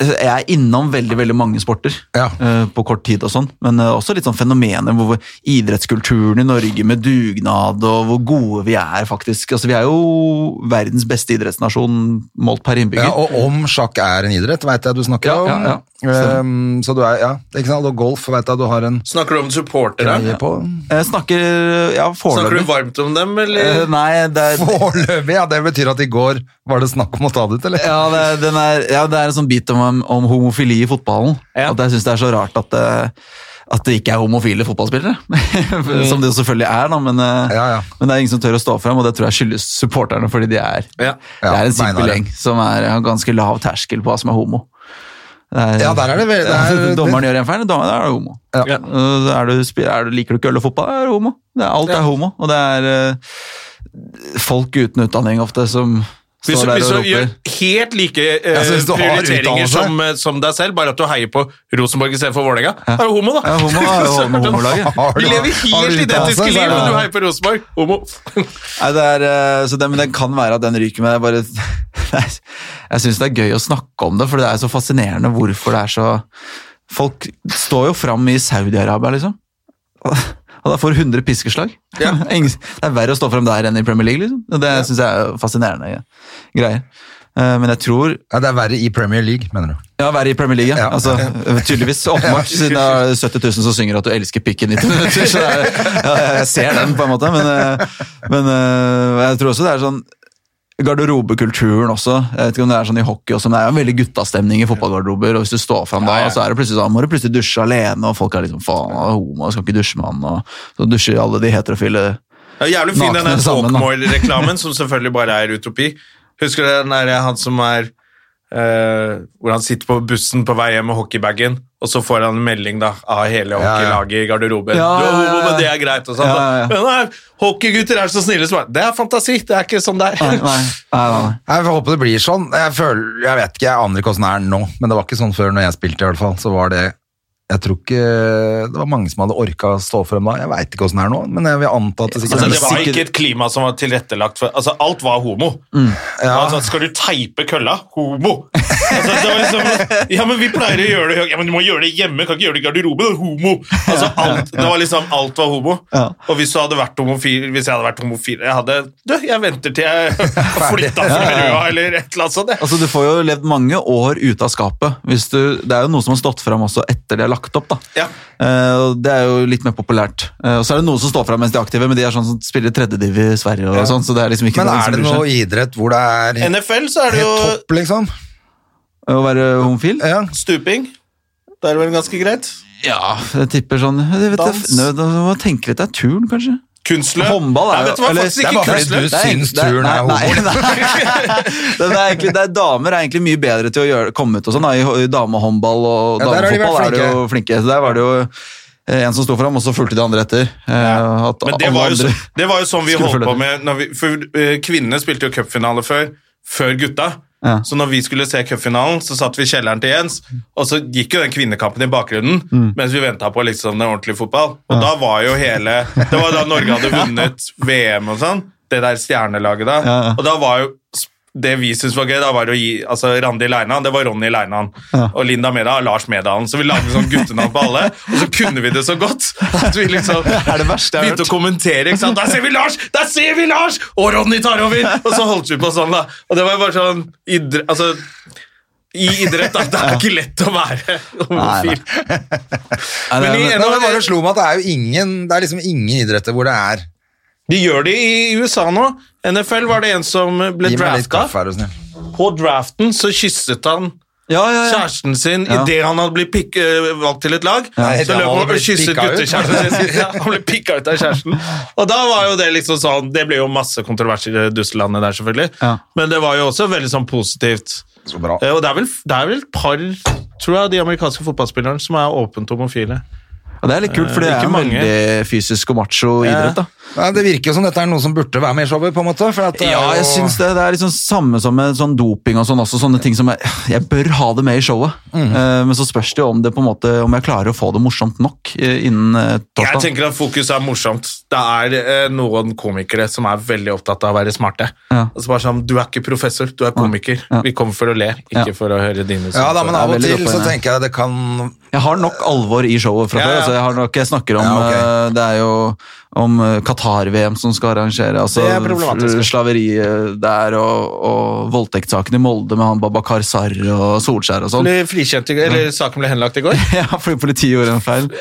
Speaker 3: Jeg er innom veldig veldig mange sporter
Speaker 1: Ja.
Speaker 3: eh, på kort tid, og sånn, men eh, også litt sånn fenomener hvor idrettskulturen i Norge med dugnad og hvor gode vi er, faktisk. Altså, Vi er jo verdens beste idrettsnasjon målt per
Speaker 1: Ja,
Speaker 3: innbygger.
Speaker 1: og om sjakk er en idrett, veit jeg du snakker
Speaker 3: Ja,
Speaker 1: om.
Speaker 3: ja, ja.
Speaker 1: Ehm, så du er, ja, det er ikke sant? Og golf veit jeg du har en
Speaker 2: Snakker du om supportere?
Speaker 1: greie på.
Speaker 3: Jeg Eh, snakker ja,
Speaker 2: Snakker
Speaker 3: foreløpig.
Speaker 2: du varmt om dem,
Speaker 3: Eh,
Speaker 2: eller?
Speaker 3: Nei, det er,
Speaker 1: Foreløpig, ja. Det betyr at i går var det snakk om å ta det ut, eller?
Speaker 3: ja, det, er- den er, ja, det er en sånn bit om, om homofili i fotballen.
Speaker 2: Ja.
Speaker 3: At jeg syns det er så rart at det, at det ikke er homofile fotballspillere. som det jo selvfølgelig er, da, men, eh,
Speaker 1: Ja, ja.
Speaker 3: men det er ingen som tør å stå frem, og det tror jeg skyldes supporterne, fordi de er,
Speaker 2: Ja.
Speaker 3: det
Speaker 1: Ja,
Speaker 3: er en simpel
Speaker 1: beinharde.
Speaker 3: gjeng som er, har ganske lav terskel på hva som er homo. Det er-
Speaker 1: Ja, der er det vel- det er-
Speaker 3: Dommeren gjør en feil, da da er du homo.
Speaker 1: Ja.
Speaker 2: Ja.
Speaker 3: Uh, Er du, spi- er du, liker du ikke øl og fotball, da er du homo. Det er, alt er homo, og det er eh, folk uten utdanning ofte som
Speaker 2: Hvis du,
Speaker 3: står der
Speaker 2: hvis
Speaker 3: og
Speaker 2: du gjør
Speaker 3: roper.
Speaker 2: helt like eh,
Speaker 1: Jeg synes du har
Speaker 2: prioriteringer
Speaker 1: utdannelse.
Speaker 2: som, eh, som deg selv, bare at du heier på Rosenborg istedenfor Vålerenga, da er du homo, da!
Speaker 3: Ja, homo er jo homo- homolaget.
Speaker 1: Har du-
Speaker 2: Vi lever
Speaker 1: har du utdannelse, så
Speaker 2: helt identiske
Speaker 1: er
Speaker 2: liv,
Speaker 1: det-
Speaker 2: men du heier på Rosenborg! Homo.
Speaker 3: Nei, det er, eh, så det, men det kan være at den ryker, men jeg bare Jeg syns det er gøy å snakke om det, for det er så fascinerende hvorfor det er så Folk står jo fram i Saudi-Arabia, liksom. Og, og da får 100 piskeslag.
Speaker 2: Ja.
Speaker 3: Ingen- det er verre å stå fram der enn i Premier League, liksom. Og Det synes syns jeg er fascinerende ja, greier. Eh, Men jeg tror
Speaker 1: Ja, det er verre i Premier League, mener du.
Speaker 3: Ja, være i Premier League, ja.
Speaker 1: Ja.
Speaker 3: Altså, tydeligvis. Åpenbart, siden det er 70 000 som synger at du elsker pikken i 90 minutter. Så det er, ja, jeg ser den, på en måte. Men, eh, men eh, jeg tror også det er sånn Garderobekulturen også. Jeg vet ikke om det er sånn i hockey også, men det er jo en veldig guttastemning i fotballgarderober. og Hvis du står fram da, så er det plutselig sånn, må du plutselig dusje alene, og folk er liksom faen, han er homo, skal ikke dusje med han, og så dusjer alle de heterofile
Speaker 2: Ja, jævlig fin den
Speaker 3: Nakne
Speaker 2: der
Speaker 3: sammen, da.
Speaker 2: Talkmore-reklamen, eh, som selvfølgelig bare er utopi. Husker du den der han som er eh, hvor han sitter på bussen på vei hjem med hockeybagen, og så får han en melding da, av hele
Speaker 1: ja.
Speaker 2: hockeylaget i garderoben.
Speaker 3: Ja,
Speaker 2: du er
Speaker 3: ja, ja,
Speaker 2: homo,
Speaker 3: ja.
Speaker 2: men det er greit. Og sånn,
Speaker 3: Ja, ja, ja.
Speaker 2: Men nei, hockeygutter er så snille som er. Det er fantasi, det er ikke sånn det
Speaker 3: Nei,
Speaker 2: er.
Speaker 3: nei, nei, nei.
Speaker 1: Jeg får håpe det blir sånn. Jeg, føler, jeg vet ikke, jeg aner ikke åssen det er nå, men det var ikke sånn før når jeg spilte, i hvert fall. Så var det Jeg tror ikke det var mange som hadde orka å stå frem da. Jeg veit ikke åssen det er nå, men jeg vil anta at det sikkert
Speaker 2: Altså,
Speaker 1: er
Speaker 2: det var
Speaker 3: sikkert-
Speaker 2: ikke et klima som var tilrettelagt for altså, Alt var homo. Altså, skal du teipe kølla? Homo! Altså, det var liksom, ja, men vi pleier å gjøre det ja, men Du må gjøre det hjemme, kan ikke gjøre det i garderoben. Homo! Altså, alt, det var liksom, alt var homo.
Speaker 3: Ja.
Speaker 2: Og hvis du hadde vært homofil Hvis jeg hadde vært homofil Jeg hadde Du, jeg venter til jeg har flytta fra Røa, eller et eller annet sånt. jeg.
Speaker 3: Altså, Du får jo levd mange år ute av skapet. Hvis du, det er jo noe som har stått fram også etter de har lagt opp. da.
Speaker 2: Ja.
Speaker 3: Eh, og det er jo litt mer populært. Eh, og så er det noen som står fram mens de er aktive, men de er sånn som spiller tredjediv i Sverige. og sånn, så det er liksom ikke
Speaker 1: Men er
Speaker 3: noe
Speaker 1: det
Speaker 3: som bryr
Speaker 1: noe
Speaker 3: seg.
Speaker 1: idrett hvor det er helt,
Speaker 2: NFL, så er det jo
Speaker 1: topp, liksom?
Speaker 3: Å være homofil?
Speaker 1: Ja.
Speaker 2: stuping. Det er vel ganske greit.
Speaker 3: Ja, jeg tipper sånn jeg vet,
Speaker 2: Dans.
Speaker 3: jeg- Nå nå må jeg tenke litt. Det er turn, kanskje?
Speaker 2: Kunstløp.
Speaker 3: Håndball er
Speaker 2: Nei,
Speaker 3: jo
Speaker 2: vet du hva,
Speaker 3: eller-
Speaker 2: faktisk
Speaker 3: det er
Speaker 2: ikke
Speaker 1: bare fordi
Speaker 2: kunstløp.
Speaker 1: du
Speaker 3: Det
Speaker 1: syns
Speaker 3: det
Speaker 1: turn er
Speaker 3: nei, nei. Den er egentlig, det er, damer er egentlig mye bedre til å gjøre, komme ut og sånn. da. I, I damehåndball og
Speaker 1: Ja, der har de vært
Speaker 3: damefotball er det jo flinke. Så der var det jo eh, en som sto fram, og så fulgte de andre etter. Eh, At
Speaker 2: Men det
Speaker 3: alle
Speaker 2: var, jo, så-
Speaker 3: andre-
Speaker 2: det var jo sånn vi
Speaker 3: skulle
Speaker 2: holdt
Speaker 3: følge
Speaker 2: på
Speaker 3: det.
Speaker 2: med når vi, for, eh, Kvinnene spilte jo cupfinale før, før gutta.
Speaker 3: Ja.
Speaker 2: Så når vi skulle se cupfinalen, så satt vi i kjelleren til Jens, og så gikk jo den kvinnekampen i bakgrunnen
Speaker 3: Mm.
Speaker 2: mens vi venta på liksom den ordentlige fotball. Og da var jo hele Det var da Norge hadde vunnet VM og sånn, det der stjernelaget da.
Speaker 3: Ja, ja.
Speaker 2: Og da var jo s- det vi syntes var gøy, da var å gi altså Randi Leinan, det var Ronny Leinan. Og Linda Meda, Lars Medalen. Så vi lagde sånn guttenavn på alle, og så kunne vi det så godt at vi liksom
Speaker 3: er det verste jeg har
Speaker 2: begynte å
Speaker 3: hørt.
Speaker 2: kommentere. ikke sant? Der ser vi Lars! Der ser vi Lars! Og Ronny tar over! Og så holdt vi på sånn, da. Og det var bare sånn idre, Altså, i idrett, da. Det er ikke lett å være homofil.
Speaker 3: Nei,
Speaker 2: Men
Speaker 3: nei,
Speaker 2: i-
Speaker 3: nei.
Speaker 1: Nå, det bare slo meg at det er jo ingen Det er liksom ingen idretter hvor det er
Speaker 2: De gjør det i USA nå. NFL var det en som ble
Speaker 1: Gi meg litt
Speaker 2: drafta.
Speaker 1: kaffe, er du snill.
Speaker 2: På draften så kysset han
Speaker 3: Ja, ja, ja.
Speaker 2: kjæresten sin
Speaker 3: Ja.
Speaker 2: idet han hadde blitt pikk, øh, valgt til et lag.
Speaker 1: Nei,
Speaker 2: så
Speaker 1: han hadde
Speaker 2: løp han og
Speaker 1: blitt
Speaker 2: kysset
Speaker 1: pikka ut.
Speaker 2: guttekjæresten sin. Ja, han ble pikka ut av kjæresten. Og da var jo det liksom sånn Det ble jo masse kontroverser i det dusselandet der, selvfølgelig.
Speaker 3: Ja.
Speaker 2: Men det var jo også veldig sånn positivt.
Speaker 1: Så bra.
Speaker 2: Eh, Og det er vel, det er vel et par, tror jeg, av de amerikanske fotballspillerne som er åpent homofile.
Speaker 3: Og det er litt kult, for det
Speaker 2: Ikke
Speaker 3: er jo
Speaker 2: mange.
Speaker 3: veldig fysisk og macho
Speaker 2: Ja.
Speaker 3: idrett. da.
Speaker 1: Nei, det virker jo som dette er noe som burde være med i showet, på en måte. For at eh, det er
Speaker 3: Ja, jeg
Speaker 1: jo-
Speaker 3: syns det. Det er liksom samme som med sånn doping og sånn også. Sånne ting som jeg, jeg bør ha det med i showet.
Speaker 1: Mhm.
Speaker 3: Eh, Men så spørs det jo om det på en måte Om jeg klarer å få det morsomt nok eh, innen eh,
Speaker 2: Jeg
Speaker 3: torsdag.
Speaker 2: tenker at fokus er morsomt. Det er eh, noen komikere som er veldig opptatt av å være smarte.
Speaker 3: Ja.
Speaker 2: Og så bare sånn, Du er ikke professor, du er komiker.
Speaker 3: Ja.
Speaker 2: Vi kommer for å le, ikke
Speaker 3: Ja.
Speaker 2: for å høre dine
Speaker 1: Ja da, men
Speaker 3: Det er
Speaker 1: av og
Speaker 3: veldig
Speaker 1: til
Speaker 3: godt
Speaker 1: så
Speaker 3: poeng, ja.
Speaker 1: tenker jeg det kan
Speaker 3: Jeg har nok alvor i showet fra
Speaker 2: Ja,
Speaker 3: før.
Speaker 2: ja.
Speaker 3: Altså jeg, har nok, jeg snakker om
Speaker 1: Ja, ok.
Speaker 3: eh, Det er jo om eh, Qatar-VM som skal arrangere. Altså,
Speaker 2: Det er problematisk.
Speaker 3: f- Slaveriet der og, og voldtektssaken i Molde med han Babakar Sarr og Solskjær og sånn.
Speaker 2: Ble frikjent i går, eller saken ble henlagt i går.
Speaker 3: Ja, fordi politiet gjorde en feil. Det,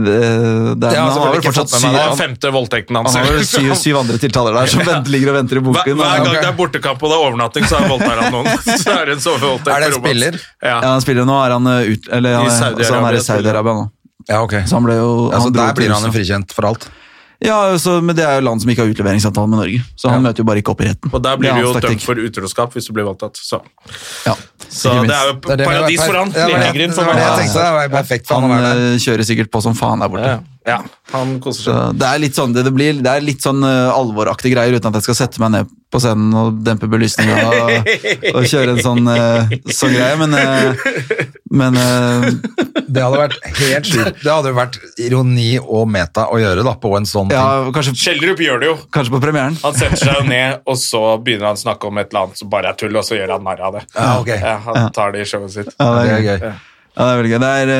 Speaker 3: det,
Speaker 1: har jeg
Speaker 3: men han har
Speaker 1: selvfølgelig
Speaker 3: vel
Speaker 1: ikke
Speaker 3: fortsatt
Speaker 1: fått med
Speaker 3: syv,
Speaker 1: meg, da.
Speaker 2: Det var
Speaker 3: han,
Speaker 2: femte voldtekten hans.
Speaker 3: han har vel syv, syv andre tiltaler der som venter, ligger og venter i
Speaker 2: Hver,
Speaker 3: boken.
Speaker 2: hver
Speaker 3: og-
Speaker 2: gang det er bortekamp og det er overnatting, så er voldtar han noen. Så er det en sovevoldtekt.
Speaker 1: Er det en
Speaker 2: på rommet hans.
Speaker 1: spiller?
Speaker 3: Ja, han spiller nå, er han eh, ut,
Speaker 2: I
Speaker 3: eller, han,
Speaker 2: Saudi-Arabia
Speaker 3: er- altså, han er i
Speaker 2: spiller.
Speaker 3: Saudi-Arabia nå.
Speaker 1: Ja, ok.
Speaker 3: Så han ble jo
Speaker 1: Ja, så
Speaker 3: dro
Speaker 1: der
Speaker 3: til
Speaker 1: blir han
Speaker 3: Russland.
Speaker 1: jo frikjent for alt.
Speaker 3: Ja, så, men det er jo land som ikke har utleveringsavtale med Norge. Så han møter jo bare ikke opp i retten.
Speaker 2: Og der
Speaker 3: Det
Speaker 2: blir
Speaker 3: er
Speaker 2: du jo
Speaker 3: hans
Speaker 2: dømt
Speaker 3: taktikk.
Speaker 2: for utroskap hvis du blir voldtatt. Så,
Speaker 3: Ja.
Speaker 2: så
Speaker 3: Ikke minst.
Speaker 2: det er jo
Speaker 1: Det er det-
Speaker 2: paradis for han.
Speaker 1: Ja, det var det-
Speaker 2: Legegrunn
Speaker 1: det
Speaker 2: for
Speaker 1: var det jeg
Speaker 2: meg.
Speaker 1: tenkte. Det var perfekt for han
Speaker 3: Han
Speaker 1: å være der.
Speaker 3: eh, kjører sikkert på som faen der borte.
Speaker 2: Ja, ja. han koser
Speaker 3: Så
Speaker 2: seg.
Speaker 3: Det er litt sånn, det, det blir, det er litt sånn eh, alvoraktige greier uten at jeg skal sette meg ned på scenen og dempe belysninga og, og kjøre en sånn, eh, sånn greie, men, eh, men eh,
Speaker 1: Det hadde vært helt sjukt. Det hadde jo vært ironi og meta å gjøre da, på en sånn
Speaker 3: ja,
Speaker 1: ting.
Speaker 3: kanskje,
Speaker 2: Schjelderup gjør det jo.
Speaker 3: kanskje på premieren.
Speaker 2: Han setter seg jo ned, og så begynner han å snakke om et eller annet som bare er tull, og så gjør han narr av det.
Speaker 1: Ja, ok.
Speaker 2: Ja, han tar det i showet sitt.
Speaker 3: Ja,
Speaker 1: Det er
Speaker 3: gøy.
Speaker 1: gøy.
Speaker 3: Ja, det er veldig gøy. Det er,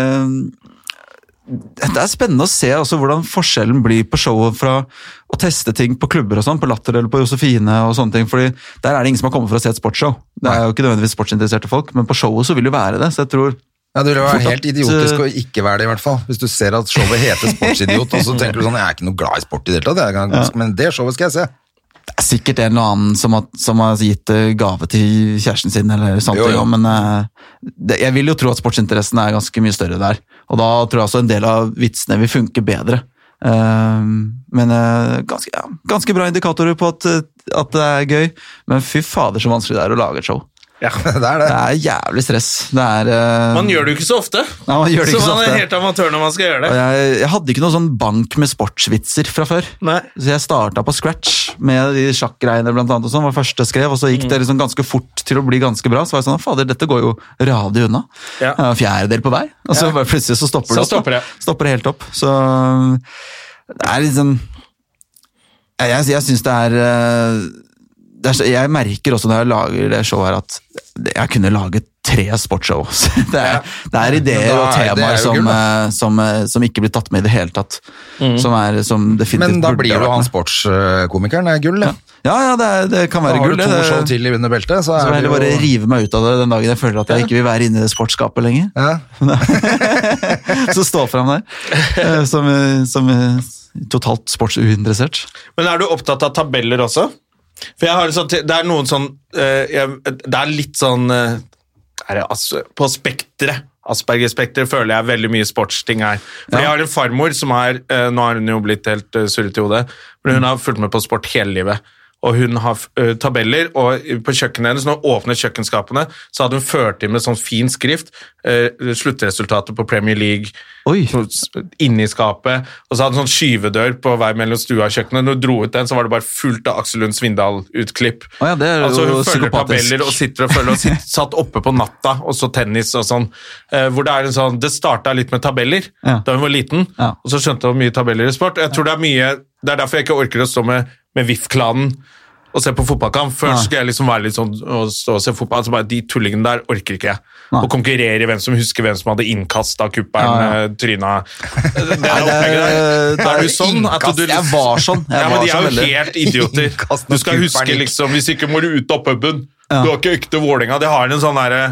Speaker 3: eh, det er spennende å se også hvordan forskjellen blir på showet fra å teste ting på klubber og sånn, på Latter eller på Josefine og sånne ting, fordi der er det ingen som har kommet for å se et sportsshow. Det er jo ikke nødvendigvis sportsinteresserte folk, men på showet så vil det jo være det, så jeg tror
Speaker 1: Ja, det ville
Speaker 3: Fort
Speaker 1: vært
Speaker 3: at,
Speaker 1: helt idiotisk
Speaker 3: eh,
Speaker 1: å ikke være det, i hvert fall. Hvis du ser at showet heter Sportsidiot, og så tenker du sånn Jeg er ikke noe glad i sport i det hele tatt, jeg kan- men det showet skal jeg se.
Speaker 3: det er sikkert en eller annen som har, som har gitt eh, gave til kjæresten sin eller sånne
Speaker 1: Jo,
Speaker 3: ting,
Speaker 1: jo.
Speaker 3: også, men eh, det, jeg vil jo tro at sportsinteressen er ganske mye større der, og da tror jeg også en del av vitsene vil funke bedre. Eh, men eh, ganske, ja, ganske bra indikatorer på at, eh, at det er gøy, men fy fader så vanskelig det er å lage et show.
Speaker 2: Ja.
Speaker 1: Det er det.
Speaker 3: Det er jævlig stress. Det er eh,
Speaker 2: Man gjør det jo ikke så ofte,
Speaker 3: Ja, man gjør det ikke
Speaker 2: så
Speaker 3: så
Speaker 2: man
Speaker 3: ofte.
Speaker 2: er helt amatør når man skal gjøre
Speaker 3: og
Speaker 2: det.
Speaker 3: jeg, jeg hadde ikke noe sånn bank med sportsvitser fra før.
Speaker 2: Nei.
Speaker 3: Så jeg starta på scratch med de sjakkgreiene blant annet. Og sånn, var første jeg skrev, og så gikk
Speaker 2: Mm.
Speaker 3: det liksom ganske fort til å bli ganske bra. Så var jeg sånn, fader, dette går jo radig unna.
Speaker 2: Ja.
Speaker 3: Jeg var fjerdedel på vei, og så
Speaker 2: Ja.
Speaker 3: bare plutselig så
Speaker 2: Så
Speaker 3: stopper det. opp,
Speaker 2: stopper
Speaker 3: da.
Speaker 2: det.
Speaker 3: Stopper det helt opp. Så det er liksom Jeg, jeg, jeg syns det er eh, det er, så- jeg merker også når jeg lager det showet her at jeg kunne laget tre sportsshow. ass. Det er, det er ideer
Speaker 1: Da
Speaker 3: og
Speaker 1: er- det er
Speaker 3: temaer
Speaker 1: jo
Speaker 3: som,
Speaker 1: gull, da.
Speaker 3: eh, som, eh, som ikke blir tatt med i det hele tatt.
Speaker 2: Mm.
Speaker 3: Som, er, som definitivt
Speaker 1: Men da
Speaker 3: burde
Speaker 1: blir
Speaker 3: vært
Speaker 1: jo han
Speaker 3: med.
Speaker 1: sportskomikeren det er gull, det.
Speaker 3: Ja, ja, det, er, det kan
Speaker 1: Da
Speaker 3: være
Speaker 1: har
Speaker 3: gull.
Speaker 1: du
Speaker 3: det.
Speaker 1: to
Speaker 3: Det-
Speaker 1: show til under beltet, så
Speaker 3: Så
Speaker 1: er
Speaker 3: jeg
Speaker 1: det
Speaker 3: heller bare
Speaker 1: jo
Speaker 3: rive meg ut av det den dagen jeg føler at jeg ikke vil være inne i det sportsskapet lenger.
Speaker 1: ja.
Speaker 3: Så stå fram der eh, som, eh, som eh, totalt sportsuinteressert.
Speaker 2: Men er du opptatt av tabeller også? For jeg har en sånn, te- det er noen sånn eh, jeg, Det er litt sånn eh, er det, as- På spekteret. Asperger-spekteret føler jeg veldig mye sportsting her. For Jeg har en farmor som er eh, Nå har hun jo blitt helt eh, surret i hodet, men hun har fulgt med på sport hele livet. Og hun har f- eh, tabeller, og på kjøkkenet hennes, når hun åpnet kjøkkenskapene, så hadde hun ført inn med sånn fin skrift eh, sluttresultatet på Premier League
Speaker 3: Oi.
Speaker 2: så- inne i skapet, og så hadde hun sånn skyvedør på vei mellom stua og kjøkkenet. Når hun dro ut den, så var det bare fullt av Aksel Lund Svindal-utklipp.
Speaker 3: Å ja, det er jo
Speaker 2: altså, hun følger
Speaker 3: psykopatisk.
Speaker 2: tabeller og sitter og følger, og sitt- satt oppe på natta, og så tennis og sånn. Eh, hvor det er en sånn, det starta litt med tabeller
Speaker 3: Ja.
Speaker 2: da hun var liten,
Speaker 3: Ja.
Speaker 2: og så skjønte hun mye tabeller i sport. Jeg tror det er mye, det er derfor jeg ikke orker å stå med, med VIF-klanen og se på fotballkamp. Før
Speaker 3: Nei.
Speaker 2: skal jeg liksom være litt sånn og stå og se fotball, så bare de tullingene der orker ikke jeg.
Speaker 3: Nei.
Speaker 2: Å konkurrere i hvem som husker hvem som hadde innkast av kupperen,
Speaker 3: Ja, ja.
Speaker 2: eh, tryna Det er
Speaker 3: det er-
Speaker 2: opplegget
Speaker 3: det
Speaker 2: der.
Speaker 3: Eh, er
Speaker 2: Er du sånn at
Speaker 3: innkast.
Speaker 2: du
Speaker 3: Jeg var sånn. Jeg
Speaker 2: ja, men
Speaker 3: var
Speaker 2: de er
Speaker 3: sånn
Speaker 2: jo
Speaker 3: veldig.
Speaker 2: helt idioter.
Speaker 1: Innkast av
Speaker 2: Du skal huske
Speaker 1: kupperen.
Speaker 2: liksom Hvis ikke må du ut av puben.
Speaker 3: Ja.
Speaker 2: Du har ikke økte Vålerenga. Det har en sånn derre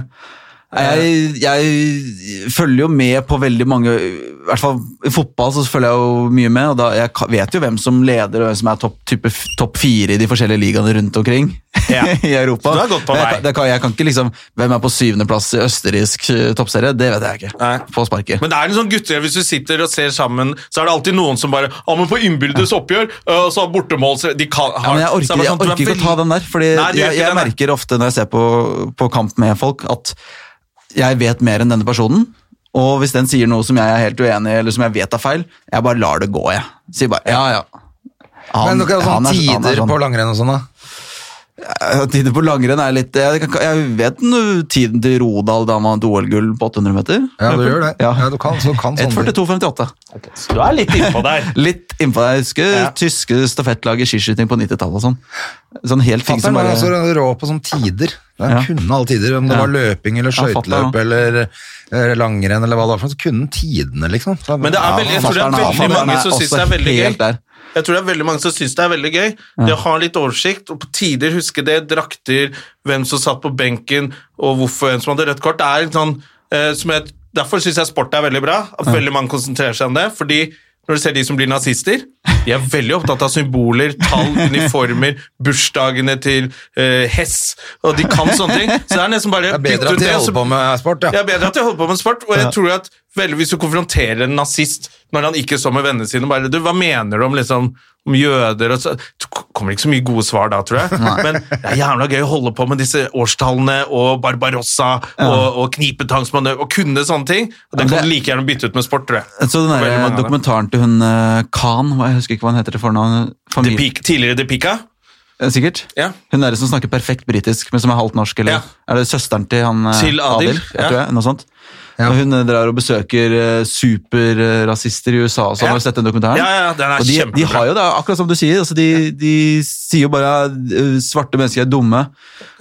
Speaker 3: Jeg, jeg følger jo med på veldig mange I hvert fall i fotball så følger jeg jo mye med. og da, Jeg ka- vet jo hvem som leder og hvem som er topp type f- topp fire i de forskjellige ligaene rundt omkring
Speaker 2: Ja.
Speaker 3: i Europa.
Speaker 2: Så du er godt på
Speaker 3: Men jeg,
Speaker 2: vei.
Speaker 3: kan- det kan, jeg kan ikke liksom, Hvem er på syvendeplass i østerriksk eh, toppserie? Det vet jeg ikke.
Speaker 2: Nei.
Speaker 3: På sparket.
Speaker 2: Men det er en sånn guttegjeng hvis du sitter og ser sammen, så er det alltid noen som bare Ja, men på innbyrdes oppgjør, øh, så har bortemål så De kan
Speaker 3: ja,
Speaker 2: har,
Speaker 3: men jeg
Speaker 2: så
Speaker 3: orker,
Speaker 2: er det
Speaker 3: jeg
Speaker 2: sånn, du er
Speaker 3: orker ikke å
Speaker 2: veldig-
Speaker 3: ta den der, fordi
Speaker 2: Nei, du gjør
Speaker 3: jeg,
Speaker 2: ikke
Speaker 3: jeg
Speaker 2: det, nei.
Speaker 3: merker ofte når jeg ser på, på kamp med folk, at jeg vet mer enn denne personen. Og hvis den sier noe som jeg er helt uenig i, eller som jeg vet er feil, jeg bare lar det gå, jeg. Sier bare ja, ja. Han-
Speaker 1: Men dere har sånne
Speaker 3: han er- han er
Speaker 1: tider
Speaker 3: sånn.
Speaker 1: på langrenn og sånn, da?
Speaker 3: Ja, Tider på langrenn er litt Jeg, kan- jeg vet nå tiden til Rodal da han vant OL-gull på 800 meter.
Speaker 1: Ja, du gjør det.
Speaker 3: Ja.
Speaker 1: Ja, du kan, så du kan sånne
Speaker 3: 1.42,58.
Speaker 2: Så Du er litt innpå der.
Speaker 3: Litt innpå deg. Jeg husker
Speaker 2: Ja.
Speaker 3: tyske stafettlag i skiskyting på 90-tallet og sånn. Sånn helt ting som
Speaker 1: Fatter'n var
Speaker 3: bare
Speaker 1: også rå på sånne tider. Han
Speaker 3: Ja.
Speaker 1: kunne alle tider, om det
Speaker 3: Ja.
Speaker 1: var løping eller
Speaker 3: Ja, fatter'n
Speaker 1: skøyteløp
Speaker 3: også.
Speaker 1: eller eh, langrenn eller hva det var, for noe, så kunne han tidene, liksom. Så-
Speaker 2: Men det er veldig, jeg tror det er
Speaker 3: fatter'n er-
Speaker 2: veldig
Speaker 3: fatter'n
Speaker 2: mange
Speaker 3: er
Speaker 2: som syns
Speaker 3: også
Speaker 2: det er veldig gøy.
Speaker 3: helt der.
Speaker 2: Jeg tror det er veldig mange som syns det er veldig gøy. Det å ha litt oversikt, og på tider huske det, drakter, hvem som satt på benken, og hvorfor hvem som hadde rødt kort, det er en sånn eh, som jeg, Derfor syns jeg sport er veldig bra, at veldig mange konsentrerer seg om det. fordi når du ser de som blir nazister, de er veldig opptatt av symboler, tall, uniformer, bursdagene til eh, Hess, og de kan sånne ting. Så det er nesten bare
Speaker 1: Det er bedre
Speaker 2: bytt ut
Speaker 1: at de
Speaker 2: og så-
Speaker 1: holder på med sport,
Speaker 2: det
Speaker 1: ja.
Speaker 2: er bedre at jeg holder på med sport, og jeg tror at vel, hvis du konfronterer en nazist når han ikke står med vennene sine, og bare du, hva mener du om liksom om jøder og så Det kommer ikke så mye gode svar da, tror jeg. Men det er jævla gøy å holde på med disse årstallene og Barbarossa og, og knipetangsmanøver og kunne sånne ting. Og det
Speaker 3: Men
Speaker 2: kan
Speaker 3: det-
Speaker 2: du like gjerne bytte ut med sport, tror jeg.
Speaker 3: Så den
Speaker 2: Veldig mange av
Speaker 3: der
Speaker 2: dem.
Speaker 3: dokumentaren til hun eh, Khan, hva- jeg husker ikke hva hun heter til fornavn.
Speaker 2: De
Speaker 3: Familie-
Speaker 2: Pik, tidligere De Pika.
Speaker 3: Eh, Sikkert?
Speaker 2: Ja.
Speaker 3: Hun der som snakker perfekt britisk, men som er halvt norsk, eller
Speaker 2: Ja.
Speaker 3: er det søsteren til han eh,
Speaker 2: Til Adil,
Speaker 3: jeg
Speaker 2: ja.
Speaker 3: tror jeg, noe sånt. Og hun eh, drar og besøker eh, superrasister i USA og sånn,
Speaker 2: Ja.
Speaker 3: har du sett den dokumentaren?
Speaker 2: Ja, ja, ja, den er
Speaker 3: og de, de
Speaker 2: kjempebra.
Speaker 3: har jo det, akkurat som du sier, altså de, de sier jo bare eh, svarte mennesker er dumme,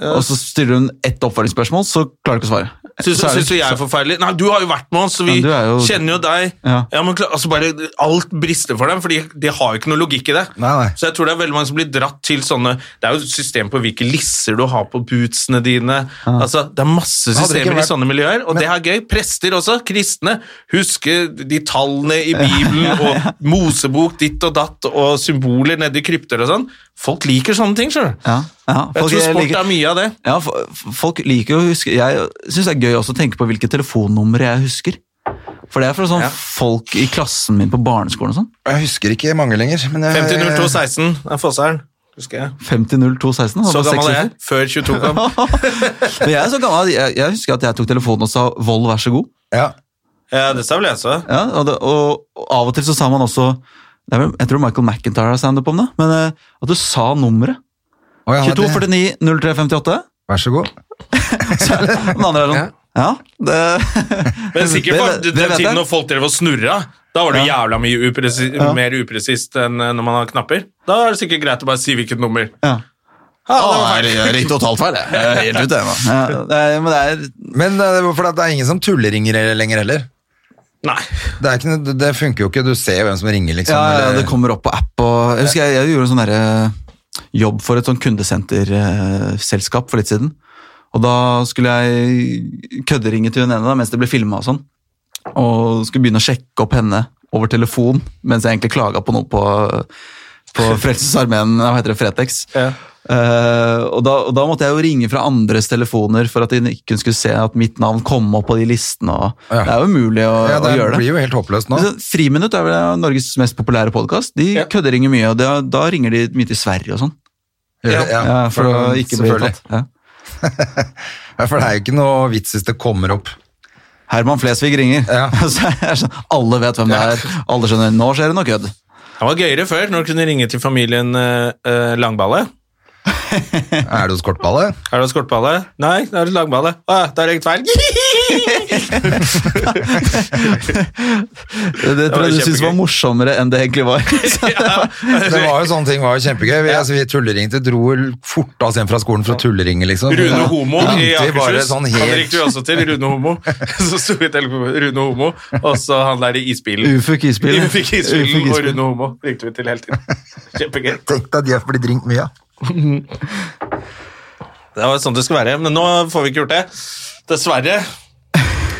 Speaker 3: og så stiller hun ett oppfølgingsspørsmål, så klarer du ikke å svare.
Speaker 2: Syns,
Speaker 3: Så er det-
Speaker 2: syns du jeg er forferdelig? Nei, du har jo vært med oss, så vi
Speaker 3: Ja, du er jo-
Speaker 2: kjenner jo deg.
Speaker 3: Ja.
Speaker 2: men klar, altså bare Alt brister for dem, for de, de har jo ikke noe logikk i det.
Speaker 1: Nei, nei.
Speaker 2: Så jeg tror det er veldig mange som blir dratt til sånne Det er jo et system på hvilke lisser du har på bootsene dine. Altså, Det er masse
Speaker 1: hadde det ikke
Speaker 2: systemer
Speaker 1: vært-
Speaker 2: i sånne miljøer, og det er gøy. Prester også, kristne. Husker de tallene i Bibelen og Mosebok ditt og datt og symboler nedi krypter og sånn. Folk liker sånne ting, skjønner du.
Speaker 3: Ja, ja.
Speaker 2: Jeg
Speaker 3: Folk
Speaker 2: tror sport
Speaker 3: liker-
Speaker 2: er mye av det.
Speaker 3: Ja, fo- f- folk liker jo å huske Jeg syns det er gøy også å tenke på hvilke telefonnumre jeg husker. For det er fra sånn
Speaker 2: Ja.
Speaker 3: folk i klassen min på barneskolen og sånn.
Speaker 1: Jeg husker ikke mange lenger, men jeg
Speaker 2: 50 02 16 er Fosseren. husker jeg.
Speaker 3: 50.02.16.
Speaker 2: Så gammel er
Speaker 3: jeg.
Speaker 2: jeg. Før 22 kom.
Speaker 3: Men jeg er så gammel, at jeg, jeg husker at jeg tok telefonen og sa 'vold, vær så god'.
Speaker 1: Ja.
Speaker 2: Ja, det sa vel jeg også.
Speaker 3: Ja, og, det, og, og av og til så sa man også det er vel- Jeg tror Michael McIntyre har standup om det, men eh, at du sa nummeret.
Speaker 1: Å, ja, det-
Speaker 3: 2249 0358.
Speaker 1: Vær så god.
Speaker 3: Den andre er sånn Ja, det
Speaker 2: Men sikkert for
Speaker 3: Det- det
Speaker 2: den
Speaker 3: vet jeg.
Speaker 2: tiden når folk drev og snurra, da var det jævla mye upresi mer upresist enn eh, når man har knapper. Da er det sikkert greit å bare si hvilket nummer.
Speaker 3: Ja.
Speaker 2: Ja, det var
Speaker 3: Å,
Speaker 2: feil.
Speaker 3: jeg gikk totalt feil, jeg. Jeg er helt ute, jeg nå. Ja, det er- men det er
Speaker 1: Men eh, for det er ingen som tulleringer lenger heller.
Speaker 2: Nei.
Speaker 1: Det, er ikke, noe- det funker jo ikke. Du ser jo hvem som ringer, liksom.
Speaker 3: Ja, ja,
Speaker 1: eller-
Speaker 3: det kommer opp på app og Jeg husker jeg, jeg gjorde en sånn derre jobb for et sånn kundesenterselskap for litt siden. Og da skulle jeg kødderinge til hun ene da, mens det ble filma og sånn. Og skulle begynne å sjekke opp henne over telefon mens jeg egentlig klaga på noe på, på Frelsesarmeen, hva heter det, Fretex.
Speaker 2: Ja.
Speaker 3: Eh, og, da, og da måtte jeg jo ringe fra andres telefoner for at hun ikke hun skulle se at mitt navn kom opp på de listene. Og
Speaker 1: Ja.
Speaker 3: Det er jo umulig å,
Speaker 1: ja, det
Speaker 3: å gjøre det.
Speaker 1: blir jo helt håpløst nå.
Speaker 3: Men så Altså, Friminutt er vel Norges mest populære podkast. De
Speaker 2: Ja.
Speaker 3: kødderinger mye, og da, da ringer de mye til Sverige og sånn.
Speaker 1: Ja,
Speaker 3: Ja, for å ikke bli
Speaker 1: selvfølgelig.
Speaker 3: tatt. Ja.
Speaker 1: Ja, for det er jo ikke noe vits hvis det kommer opp.
Speaker 3: Herman Flesvig ringer.
Speaker 1: Ja.
Speaker 3: Så jeg er sånn, alle vet hvem det
Speaker 1: Ja.
Speaker 3: er. Alle skjønner nå skjer det noe kødd.
Speaker 2: Det var gøyere før, når du kunne ringe til familien eh, eh, Langballe.
Speaker 1: Er det hos kortballet?
Speaker 2: Er det skortballe? Nei, det er langballe. Å, ja, det er ringt feil.
Speaker 3: Det, det
Speaker 2: var
Speaker 3: tror jeg du syntes
Speaker 2: kjempegøy.
Speaker 3: var morsommere enn det egentlig var. Så
Speaker 1: Det var jo sånne ting, var jo kjempegøy. Vi, altså, vi tulleringte, dro fort av oss hjem fra skolen for å tulleringe, liksom.
Speaker 2: Rune Homo
Speaker 1: Ja,
Speaker 2: i
Speaker 1: vi bare
Speaker 2: Akershus.
Speaker 1: sånn
Speaker 2: Han
Speaker 1: helt...
Speaker 2: ringte vi også til. Rune Homo. Så sto vi i telefonen Rune Homo, og så han der i isbilen.
Speaker 3: Ufo Kispill.
Speaker 2: Vi fikk
Speaker 3: Ufo
Speaker 2: isbilen og
Speaker 3: Kispill.
Speaker 2: Rune Homo ringte vi til hele tiden. Kjempegøy.
Speaker 1: Tenk deg at jeg blir drinkt mye.
Speaker 2: Det var sånn det skulle være, men nå får vi ikke gjort det. Dessverre.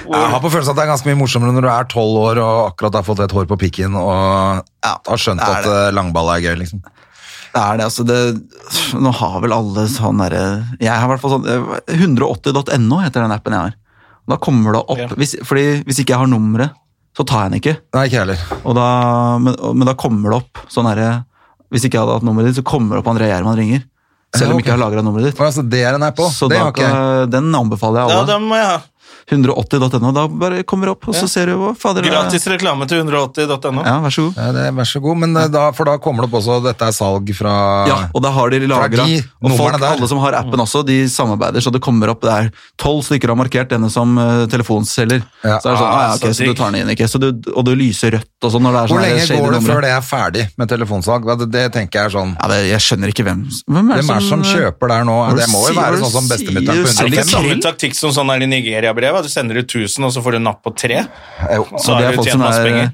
Speaker 1: Jeg har på følelsen at det er ganske mye morsommere når du er 12 år og akkurat har fått et hår på pikken og har skjønt
Speaker 3: det er
Speaker 1: at eh, langball er gøy, liksom.
Speaker 3: Det er det, altså. Det, nå har vel alle sånn derre Jeg har i hvert fall sånn eh, 180.no heter den appen jeg har. Da kommer det opp
Speaker 2: Ja.
Speaker 3: hvis, Fordi hvis ikke jeg har nummeret, så tar jeg den ikke.
Speaker 1: Nei, ikke heller.
Speaker 3: Og da, men, og- men da kommer det opp sånn herre Hvis ikke jeg hadde hatt nummeret ditt, så kommer det opp André Gjerman ringer. Selv
Speaker 1: Ja,
Speaker 3: om
Speaker 1: ok.
Speaker 3: ikke jeg har lagra nummeret ditt.
Speaker 1: Og altså, det er en app også.
Speaker 3: Så
Speaker 1: Det
Speaker 3: da,
Speaker 1: har ikke jeg.
Speaker 3: kan- den anbefaler jeg
Speaker 2: Ja,
Speaker 3: alle.
Speaker 2: da må jeg ha.
Speaker 3: 180.no. Da bare kommer det opp, og så ser du hva fader det er.
Speaker 2: Gratis reklame til 180.no.
Speaker 3: Ja, vær så god.
Speaker 1: Ja, det er, vær så god, men eh, da, for da kommer det opp også dette er salg fra
Speaker 3: Ja, og da har de lagra.
Speaker 1: de
Speaker 3: Og folk,
Speaker 1: numrene der.
Speaker 3: alle som har appen også, de samarbeider, så det kommer opp der. Tolv stykker har markert denne som eh, telefonselger.
Speaker 1: Ja,
Speaker 3: Så er det sånn, ah, ja,
Speaker 2: ah,
Speaker 3: ok,
Speaker 2: så
Speaker 3: så du
Speaker 2: digg.
Speaker 3: tar den inn, ikke? Så du, og du lyser rødt og sånn når det er
Speaker 1: Hvor
Speaker 3: sånn
Speaker 1: lenge
Speaker 3: shady
Speaker 1: går det
Speaker 3: numre.
Speaker 1: før det er ferdig med telefonsalg? Det, det tenker jeg er sånn
Speaker 3: Ja, det, jeg skjønner ikke hvem Hvem
Speaker 1: Hvem er det som kjøper der nå?
Speaker 3: eh, Hva
Speaker 1: Det må jo
Speaker 3: sier-
Speaker 1: være
Speaker 3: hva
Speaker 1: sånn som
Speaker 3: sier-
Speaker 1: bestemutteren på
Speaker 2: Er det ikke
Speaker 1: 105.
Speaker 2: samme taktikk som sånn er i Nigeria-brevet? at Du sender ut 1000, og så får du napp på tre?
Speaker 1: Jo.
Speaker 2: Så
Speaker 3: Og det
Speaker 2: har
Speaker 3: er
Speaker 2: du
Speaker 3: folk
Speaker 2: tjent
Speaker 3: som
Speaker 2: masse
Speaker 3: er
Speaker 2: penger.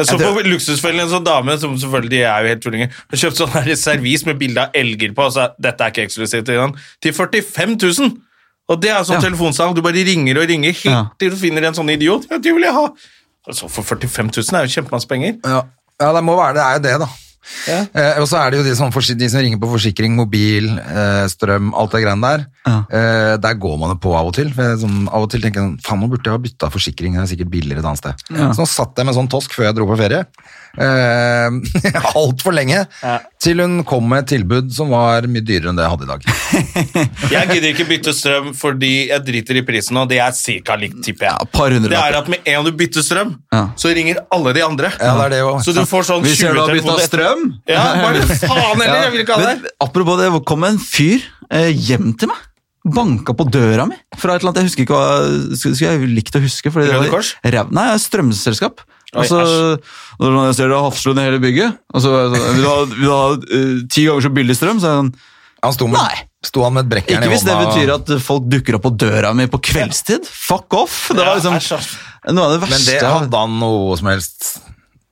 Speaker 2: Jeg så
Speaker 3: Jeg
Speaker 2: på Luksusfellen en sånn dame som selvfølgelig de er jo helt tullinger. Hun kjøpte sånn her servis med bilde av elger på, og sa dette er ikke eksklusivt til den, til 45 000! Og det er sånn
Speaker 3: Ja.
Speaker 2: telefonsalg. Du bare ringer og ringer helt
Speaker 3: Ja.
Speaker 2: til du finner en sånn idiot. Ja, de vil jeg ha! Altså, for 45 000 er jo kjempemasse penger.
Speaker 1: Ja. ja, det må være det. er jo det, da. Eh, og så er det jo de som, forsi- de som ringer på forsikring, mobil, eh, strøm, alt det greiene der. Eh, der går man jo på av og til. For jeg, sånn, av og til tenker jeg sånn, faen nå burde jeg ha bytta forsikring, det er sikkert billigere et annet sted. Så nå satt jeg med en sånn tosk før jeg dro på ferie. Eh, Altfor lenge. Til hun kom med et tilbud som var mye dyrere enn det jeg hadde i dag.
Speaker 2: Jeg gidder ikke bytte strøm fordi jeg driter i prisen, og det er cirka likt, tipper
Speaker 3: Ja,
Speaker 2: jeg.
Speaker 3: et par hundre
Speaker 2: det er
Speaker 3: lapper.
Speaker 2: at med en du bytter strøm,
Speaker 3: Ja.
Speaker 2: så ringer alle de andre.
Speaker 1: Ja, det er det jo.
Speaker 2: Så du får sånn
Speaker 3: Vi
Speaker 2: 20
Speaker 3: ser du har bytta
Speaker 2: telefoner.
Speaker 3: strøm!
Speaker 2: Ja, bare faen heller, jeg vil ikke ha det.
Speaker 3: Men Apropos det, hvor kom en fyr eh, hjem til meg? Banka på døra mi fra et eller annet jeg husker ikke hva Skulle skulle jeg likt å huske. Fordi det
Speaker 2: Røde
Speaker 3: var
Speaker 2: Kors?
Speaker 3: ræv- Nei, strømselskap.
Speaker 2: Oi,
Speaker 3: Og så
Speaker 2: æsj.
Speaker 3: og det var sånn, jeg ser det er Hafslund i hele bygget. Og så var jeg sånn, vil du ha, vil du ha eh, ti ganger så billig strøm? Så er jeg sånn,
Speaker 1: Han sto med,
Speaker 3: Nei.
Speaker 1: sto han med et brekkjern
Speaker 3: ikke
Speaker 1: i
Speaker 3: hvis det
Speaker 1: hånda. og-
Speaker 3: betyr at folk dukker opp på døra mi på kveldstid. Fuck off! Det var
Speaker 2: Ja,
Speaker 3: liksom
Speaker 2: æsj, æsj.
Speaker 3: noe av det
Speaker 1: Men
Speaker 3: verste.
Speaker 1: det
Speaker 3: jeg har-
Speaker 1: hadde han noe som helst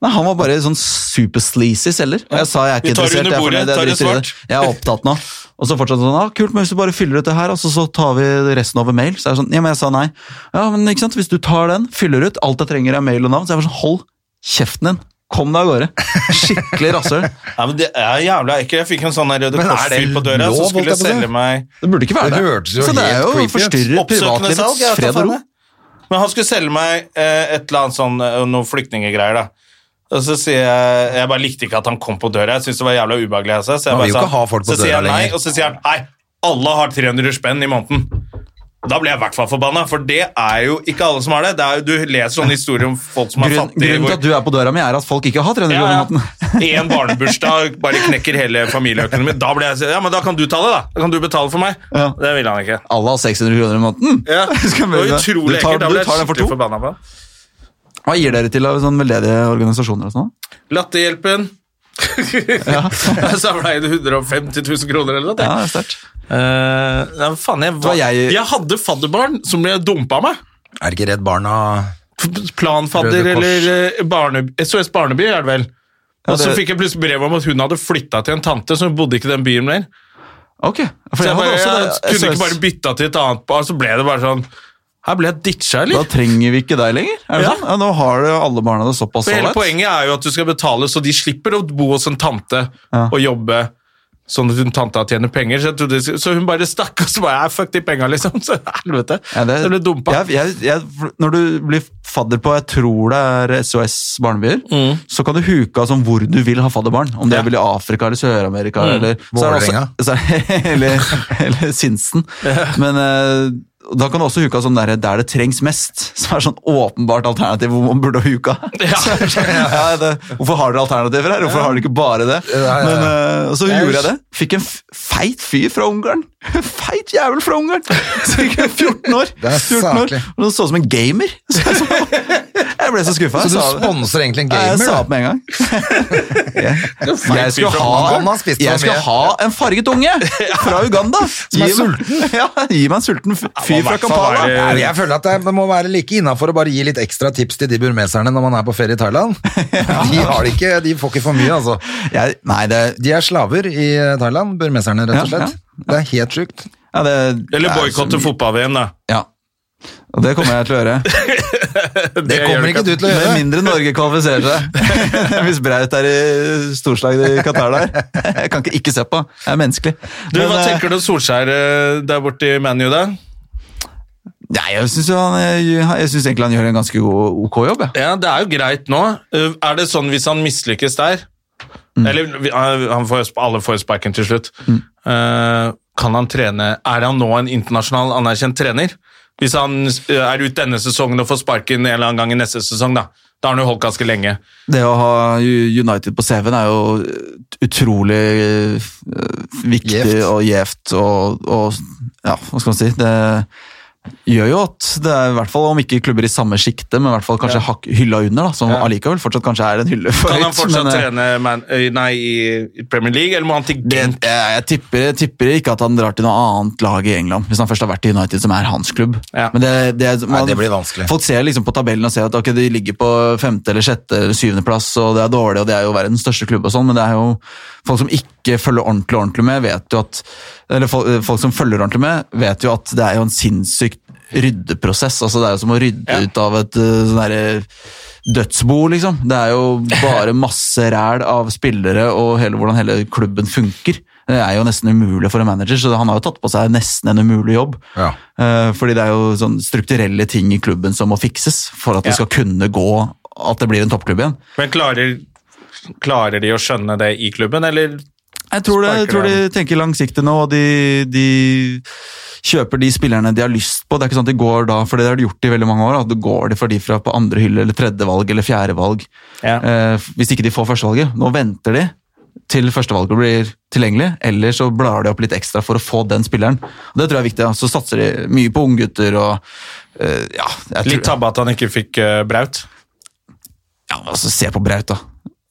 Speaker 3: Nei, Han var bare sånn super-sleazy selger. Og jeg sa jeg er
Speaker 2: Vi
Speaker 3: ikke
Speaker 2: tar det
Speaker 3: interessert, jeg
Speaker 2: under
Speaker 3: er,
Speaker 2: bordet,
Speaker 3: fornøyd,
Speaker 2: tar
Speaker 3: jeg
Speaker 2: det
Speaker 3: driter i det. Jeg er opptatt nå. Og så fortsatte han sånn, ja, kult, men hvis du bare fyller ut det her, altså, så tar vi resten over mail. Så jeg er sånn, ja, men jeg sa nei. Ja, men ikke sant, hvis du tar den, fyller ut, alt jeg trenger er mail og navn, så jeg var sånn, hold kjeften din. Kom deg av gårde. Skikkelig rasshøl.
Speaker 2: Ja, men det er jævla ekkelt. Jeg fikk en sånn her Røde
Speaker 1: Men er
Speaker 2: Kors-fyr
Speaker 1: det
Speaker 2: på døra,
Speaker 1: lov,
Speaker 2: så
Speaker 1: holdt jeg
Speaker 2: skulle
Speaker 1: på å si?
Speaker 2: selge meg
Speaker 3: Det burde ikke være
Speaker 1: Det
Speaker 3: det.
Speaker 1: hørtes jo
Speaker 3: så det er
Speaker 1: helt
Speaker 3: jo
Speaker 1: creepy ut.
Speaker 3: forstyrrer
Speaker 2: oppsøkende salg.
Speaker 3: privatlivets
Speaker 2: jeg vet da
Speaker 3: fred og
Speaker 2: faen
Speaker 3: ro.
Speaker 2: jeg. Men han skulle selge meg eh, et eller annet sånn, eh, noen flyktningegreier, da. Og så sier jeg Jeg bare likte ikke at han kom på døra. Jeg syntes det var jævla ubehagelig. Altså. Så jeg
Speaker 1: Man
Speaker 2: bare
Speaker 1: vil jo
Speaker 2: sa-
Speaker 1: ikke ha folk på
Speaker 2: så sier
Speaker 1: døra
Speaker 2: jeg nei,
Speaker 1: lenger.
Speaker 2: Og så sier han hei, alle har 300 spenn i måneden. Da blir jeg i hvert fall forbanna, for det er jo ikke alle som har det. det er jo, du leser sånne historier om folk som er
Speaker 3: Grunn,
Speaker 2: fattige. hvor-
Speaker 3: grunnen til at du er på døra mi, er at folk ikke har 300 kroner i
Speaker 2: ja,
Speaker 3: måneden.
Speaker 2: ja. En barnebursdag bare knekker hele familieøkonomien. Da blir jeg så- Ja, men da kan du ta det, da. Da kan du betale for meg.
Speaker 3: Ja.
Speaker 2: Det ville han ikke.
Speaker 3: Alle har 600 kroner i måneden!
Speaker 2: Ja.
Speaker 3: Skal vi-
Speaker 2: Det var utrolig
Speaker 3: du tar-
Speaker 2: ekkelt. Da
Speaker 3: du
Speaker 2: ble jeg
Speaker 3: tar den for
Speaker 2: skikkelig
Speaker 3: to?
Speaker 2: forbanna på han.
Speaker 3: Hva gir dere til av sånne veldedige organisasjoner og sånn?
Speaker 2: Latterhjelpen. Så ble det 150 000 kroner eller noe.
Speaker 3: Ja, det er sterkt.
Speaker 2: Eh, nei, men faen, jeg, var,
Speaker 3: var jeg-
Speaker 2: jeg... hadde fadderbarn som ble dumpa meg.
Speaker 1: Er det ikke Redd Barna
Speaker 2: F- Planfadder
Speaker 1: Røde Kors.
Speaker 2: eller eh, barne, SOS Barneby, er det vel. Og så
Speaker 3: det-
Speaker 2: fikk jeg plutselig brev om at hun hadde flytta til en tante, så hun bodde ikke i den byen mer.
Speaker 3: Ok. For
Speaker 2: Så
Speaker 3: jeg
Speaker 2: jeg,
Speaker 3: hadde
Speaker 2: bare,
Speaker 3: også
Speaker 2: jeg,
Speaker 3: det.
Speaker 2: kunne
Speaker 3: SOS.
Speaker 2: ikke bare bytta til et annet par, så ble det bare sånn Her ble jeg ditcha,
Speaker 3: Da
Speaker 2: eller?
Speaker 3: trenger vi ikke deg lenger. Er det
Speaker 2: Ja.
Speaker 3: sånn? Ja, nå har du alle barna det såpass
Speaker 2: For hele
Speaker 3: ålreit.
Speaker 2: poenget er jo at du skal betale, så de slipper å bo hos en tante
Speaker 3: Ja.
Speaker 2: og jobbe sånn at hun tanta tjener penger. Så, jeg trodde, så hun bare stakk, og så bare "Ja, Fuck de penga, liksom. Så helvete.
Speaker 3: Ja,
Speaker 2: det, ble dumpa.
Speaker 3: Jeg, jeg, jeg, når du blir fadder på jeg tror det er SOS barnebyer, så kan du huke av sånn hvor du vil ha fadderbarn. Om
Speaker 2: Mm.
Speaker 3: det
Speaker 2: Ja. Mm.
Speaker 3: vil i Afrika eller Sør-Amerika eller så er det også-
Speaker 1: Vålerenga.
Speaker 3: så er- Eller, eller Sinsen. Men eh, da kan du også huke av sånn der, der det trengs mest. Som er sånn åpenbart alternativ hvor man burde huke av.
Speaker 2: Ja.
Speaker 3: Så er det sånn, ja, det- Hvorfor har dere alternativer her? Hvorfor har dere ikke bare det?
Speaker 1: Ja, ja, ja.
Speaker 3: Men, eh, og så
Speaker 1: Jeg-
Speaker 3: gjorde jeg det. Fikk en f- feit fyr fra Ungarn. Feit jævel fra Ungarn! Så gikk jeg 14 år.
Speaker 1: Det er
Speaker 3: 14 år.
Speaker 1: saklig.
Speaker 3: Og han så ut som en gamer. Så jeg så- jeg ble så skuffa.
Speaker 1: Så du sponser egentlig en
Speaker 3: Jeg
Speaker 1: gamer,
Speaker 3: sa
Speaker 1: da?
Speaker 3: opp med en gang. Jeg skal
Speaker 2: fyr fra
Speaker 3: ha,
Speaker 1: Ungarn. Han har spist for
Speaker 3: jeg skal
Speaker 1: mye.
Speaker 3: ha en farget unge fra Uganda! Som
Speaker 1: er
Speaker 3: sulten. Ja, gi meg en sulten f- fyr fra
Speaker 2: hvert fall være-
Speaker 3: Kampala.
Speaker 1: Nei, men Jeg føler at det må være like innafor å bare gi litt ekstra tips til de burmeserne når man er på ferie i Thailand. De, har det ikke, de får ikke for mye, altså.
Speaker 3: Jeg, nei, det,
Speaker 1: De er slaver i Thailand, burmeserne, rett og
Speaker 3: Ja, ja,
Speaker 1: slett. Det er helt sjukt.
Speaker 3: ja, det
Speaker 2: Eller
Speaker 3: det er så
Speaker 2: boikotte
Speaker 3: mye.
Speaker 2: fotball-VM, da.
Speaker 3: Ja. Og det kommer jeg til å gjøre.
Speaker 1: Det
Speaker 2: gjør
Speaker 1: kommer
Speaker 2: det
Speaker 1: ikke du
Speaker 2: ikke.
Speaker 1: til å
Speaker 3: Med
Speaker 1: gjøre.
Speaker 3: mindre Norge kvalifiserer seg. Hvis Braut er i storslaget i Qatar der. Jeg kan ikke ikke se på. Det er menneskelig.
Speaker 2: Du, Hva
Speaker 3: Men, eh,
Speaker 2: tenker du om Solskjær eh, der borte i ManU, da?
Speaker 3: Nei, jeg syns egentlig han gjør en ganske god, ok jobb. Jeg.
Speaker 2: Ja, Det er jo greit nå. Eh, Er det sånn hvis han mislykkes der
Speaker 3: Mm.
Speaker 2: Eller vi- han han får, jo sp- alle får jo sparken til slutt. Eh, kan han trene Er han nå en internasjonal anerkjent trener? Hvis han eh, er ute denne sesongen og får sparken en eller annen gang i neste sesong, da. Da har han jo holdt ganske lenge.
Speaker 3: Det å ha U- United på CV-en er jo ut- utrolig eh, viktig
Speaker 1: Gjevt.
Speaker 3: og gjevt og, og Ja, hva skal man si? Det gjør jo at det er i hvert fall, om ikke klubber i samme sjikte, men i hvert fall kanskje hakk- hylla under, da, som
Speaker 2: Ja.
Speaker 3: allikevel fortsatt kanskje er en hylle for
Speaker 2: Kan han
Speaker 3: høyt,
Speaker 2: fortsatt
Speaker 3: men, eh,
Speaker 2: trene man, eh, nei, i- i Premier League, eller må han til
Speaker 3: Det, jeg,
Speaker 2: Gent?
Speaker 3: jeg, tipper, jeg tipper ikke at han drar til noe annet lag i England, hvis han først har vært i United, som er hans klubb.
Speaker 2: Ja.
Speaker 3: Men det, det, man-
Speaker 1: det blir vanskelig.
Speaker 3: Folk ser liksom på tabellen og ser at ok, de ligger på femte, eller sjette eller syvendeplass, og det er dårlig, og det er jo verdens største klubb, og sånn, men det er jo folk som ikke følger ordentlig ordentlig med, vet jo at Eller folk, folk som følger ordentlig med, vet jo at det er jo en sinnssykt ryddeprosess. altså Det er jo som å rydde
Speaker 2: Ja.
Speaker 3: ut av et eh, sånn derre dødsbo, liksom. Det er jo bare masse ræl av spillere og hele, hvordan hele klubben funker. Det er jo nesten umulig for en manager, så han har jo tatt på seg nesten en umulig jobb.
Speaker 1: Ja.
Speaker 3: Eh, Fordi det er jo sånn strukturelle ting i klubben som må fikses for at det
Speaker 2: Ja.
Speaker 3: skal kunne gå at det blir en toppklubb igjen.
Speaker 2: Men klarer, klarer de å skjønne det i klubben, eller
Speaker 3: Jeg tror, det, jeg
Speaker 2: Sparker
Speaker 3: tror de tenker langsiktig nå, og de, de kjøper de spillerne de har lyst på. Det er ikke sånn at de går da, for det har de gjort i veldig mange år, at da går de for de fra på andre hylle, eller tredje valg, eller fjerde valg.
Speaker 2: Ja.
Speaker 3: Eh, hvis ikke de får førstevalget. Nå venter de til førstevalget blir tilgjengelig, eller så blar de opp litt ekstra for å få den spilleren. Og det tror jeg er viktig. ja. Så satser de mye på unggutter og eh, ja, jeg
Speaker 2: Litt
Speaker 3: tror,
Speaker 2: tabbe at han ikke fikk eh, Braut?
Speaker 3: ja, altså, Se på Braut, da.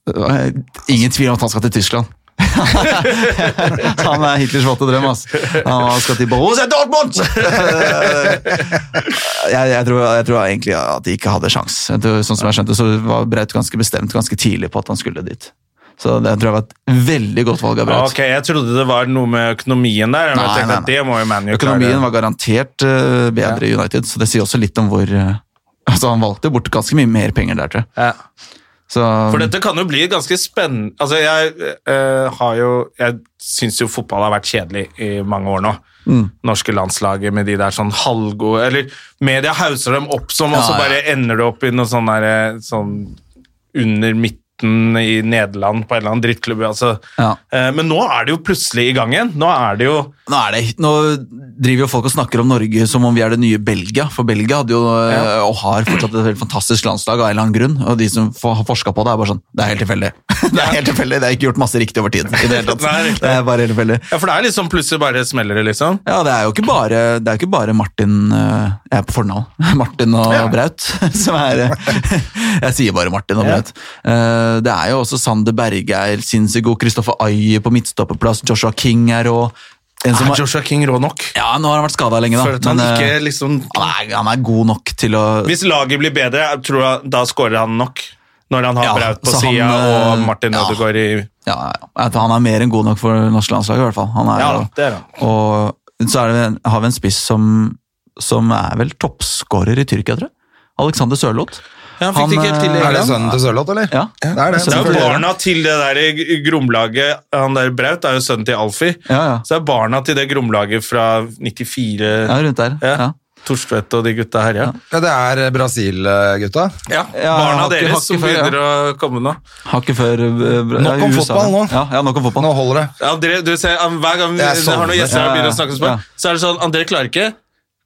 Speaker 3: Eh, Ingen tvil om at han skal til Tyskland. han er Hitlers våte drøm, ass. Han skal til Borussia Dortmund! jeg, jeg, tror, jeg tror egentlig at de ikke hadde sjans. Jeg tror, Sånn som jeg skjønte, så var Braut ganske bestemt ganske tidlig på at han skulle dit. Så det tror jeg var et veldig godt valg av Braut.
Speaker 2: Ok, jeg trodde det var noe med økonomien der. men
Speaker 3: Nei,
Speaker 2: jeg tenkte
Speaker 3: nei,
Speaker 2: at
Speaker 3: nei.
Speaker 2: det må jo Man U
Speaker 3: Økonomien
Speaker 2: klare.
Speaker 3: var garantert eh, bedre i United, så det sier også litt om hvor eh, Altså, han valgte bort ganske mye mer penger der, tror jeg.
Speaker 2: Ja.
Speaker 3: Så
Speaker 2: For dette kan jo bli ganske spennende Altså, jeg eh, har jo Jeg syns jo fotball har vært kjedelig i mange år nå.
Speaker 3: Mm.
Speaker 2: Norske landslaget med de der sånn halvgode Eller media hauser dem opp som, og så
Speaker 3: Ja, ja.
Speaker 2: bare ender det opp i noe sånn der eh, sånn under midten 19 i Nederland på en eller annen drittklubb. Altså.
Speaker 3: Ja.
Speaker 2: Eh, Men nå er det jo plutselig i gang igjen. Nå er det jo
Speaker 3: Nå, er det, nå driver jo folk og snakker om Norge som om vi er det nye Belgia, for Belgia hadde jo, eh,
Speaker 2: Ja.
Speaker 3: og har fortsatt et veldig fantastisk landslag av en eller annen grunn, og de som får- har forska på det, er bare sånn Det er helt tilfeldig. Det er helt tilfeldig, det er ikke gjort masse riktig over tid. i Det hele
Speaker 2: Nei,
Speaker 3: tatt.
Speaker 2: riktig.
Speaker 3: Det er bare helt tilfeldig.
Speaker 2: Ja, for det er liksom plutselig bare smeller det, liksom.
Speaker 3: Ja, det er jo ikke bare, det er jo ikke bare Martin eh, Jeg er på fornavn. Martin og Braut. Som er eh, Jeg sier bare Martin og Braut. Eh, Det er jo også Sander Berge er sinnssykt god. Kristoffer Aye på midtstopperplass. Joshua King er rå. En som
Speaker 2: Er
Speaker 3: har,
Speaker 2: Joshua King rå nok?
Speaker 3: ja, nå har han vært skada lenge, da.
Speaker 2: For at han
Speaker 3: men, eh,
Speaker 2: ikke liksom
Speaker 3: han, er, han er god nok til å
Speaker 2: Hvis laget blir bedre, jeg tror jeg da scorer han nok. Når han har
Speaker 3: Ja,
Speaker 2: Braut på
Speaker 3: så han,
Speaker 2: sida
Speaker 3: eh,
Speaker 2: og Martin
Speaker 3: ja.
Speaker 2: Ødegaard i
Speaker 3: Ja, ja, at han er mer enn god nok for det norske landslaget, i hvert fall. Han er,
Speaker 2: Ja,
Speaker 3: jo-
Speaker 2: det er han.
Speaker 3: Og så er det, har vi en spiss som, som er vel toppskårer i Tyrkia, tror jeg. Alexander Sørloth.
Speaker 2: Ja, han fikk det ikke helt til i
Speaker 1: Er
Speaker 3: eh,
Speaker 1: det
Speaker 2: England.
Speaker 1: sønnen til Sørloth, eller?
Speaker 3: Ja.
Speaker 1: det er det.
Speaker 2: Det er jo
Speaker 3: Selvfølgelig.
Speaker 2: barna til det der gromlaget. Han der Braut er jo sønnen til Alfie.
Speaker 3: Ja, ja.
Speaker 2: Så det er barna til det gromlaget fra 94
Speaker 3: Ja, rundt der.
Speaker 2: Ja.
Speaker 3: Ja.
Speaker 2: Torstvedt og de gutta her, ja.
Speaker 1: Ja, det er Brasil, eh, gutta.
Speaker 2: ja.
Speaker 3: Ja,
Speaker 2: barna
Speaker 3: hakket-
Speaker 2: deres
Speaker 3: hakket
Speaker 2: som
Speaker 3: før, ja.
Speaker 2: begynner å komme nå.
Speaker 3: Hakket før eh, br-
Speaker 1: Nok om
Speaker 3: ja,
Speaker 1: fotball nå.
Speaker 3: Ja, ja, nok om fotball.
Speaker 1: Nå holder det.
Speaker 2: Ja, André, du ser, han- Hver gang vi
Speaker 1: Jeg
Speaker 2: har noen
Speaker 1: sovner.
Speaker 2: gjester her og
Speaker 3: Ja, ja,
Speaker 2: begynner å snakke sånn,
Speaker 3: ja.
Speaker 2: så er det sånn André klarer ikke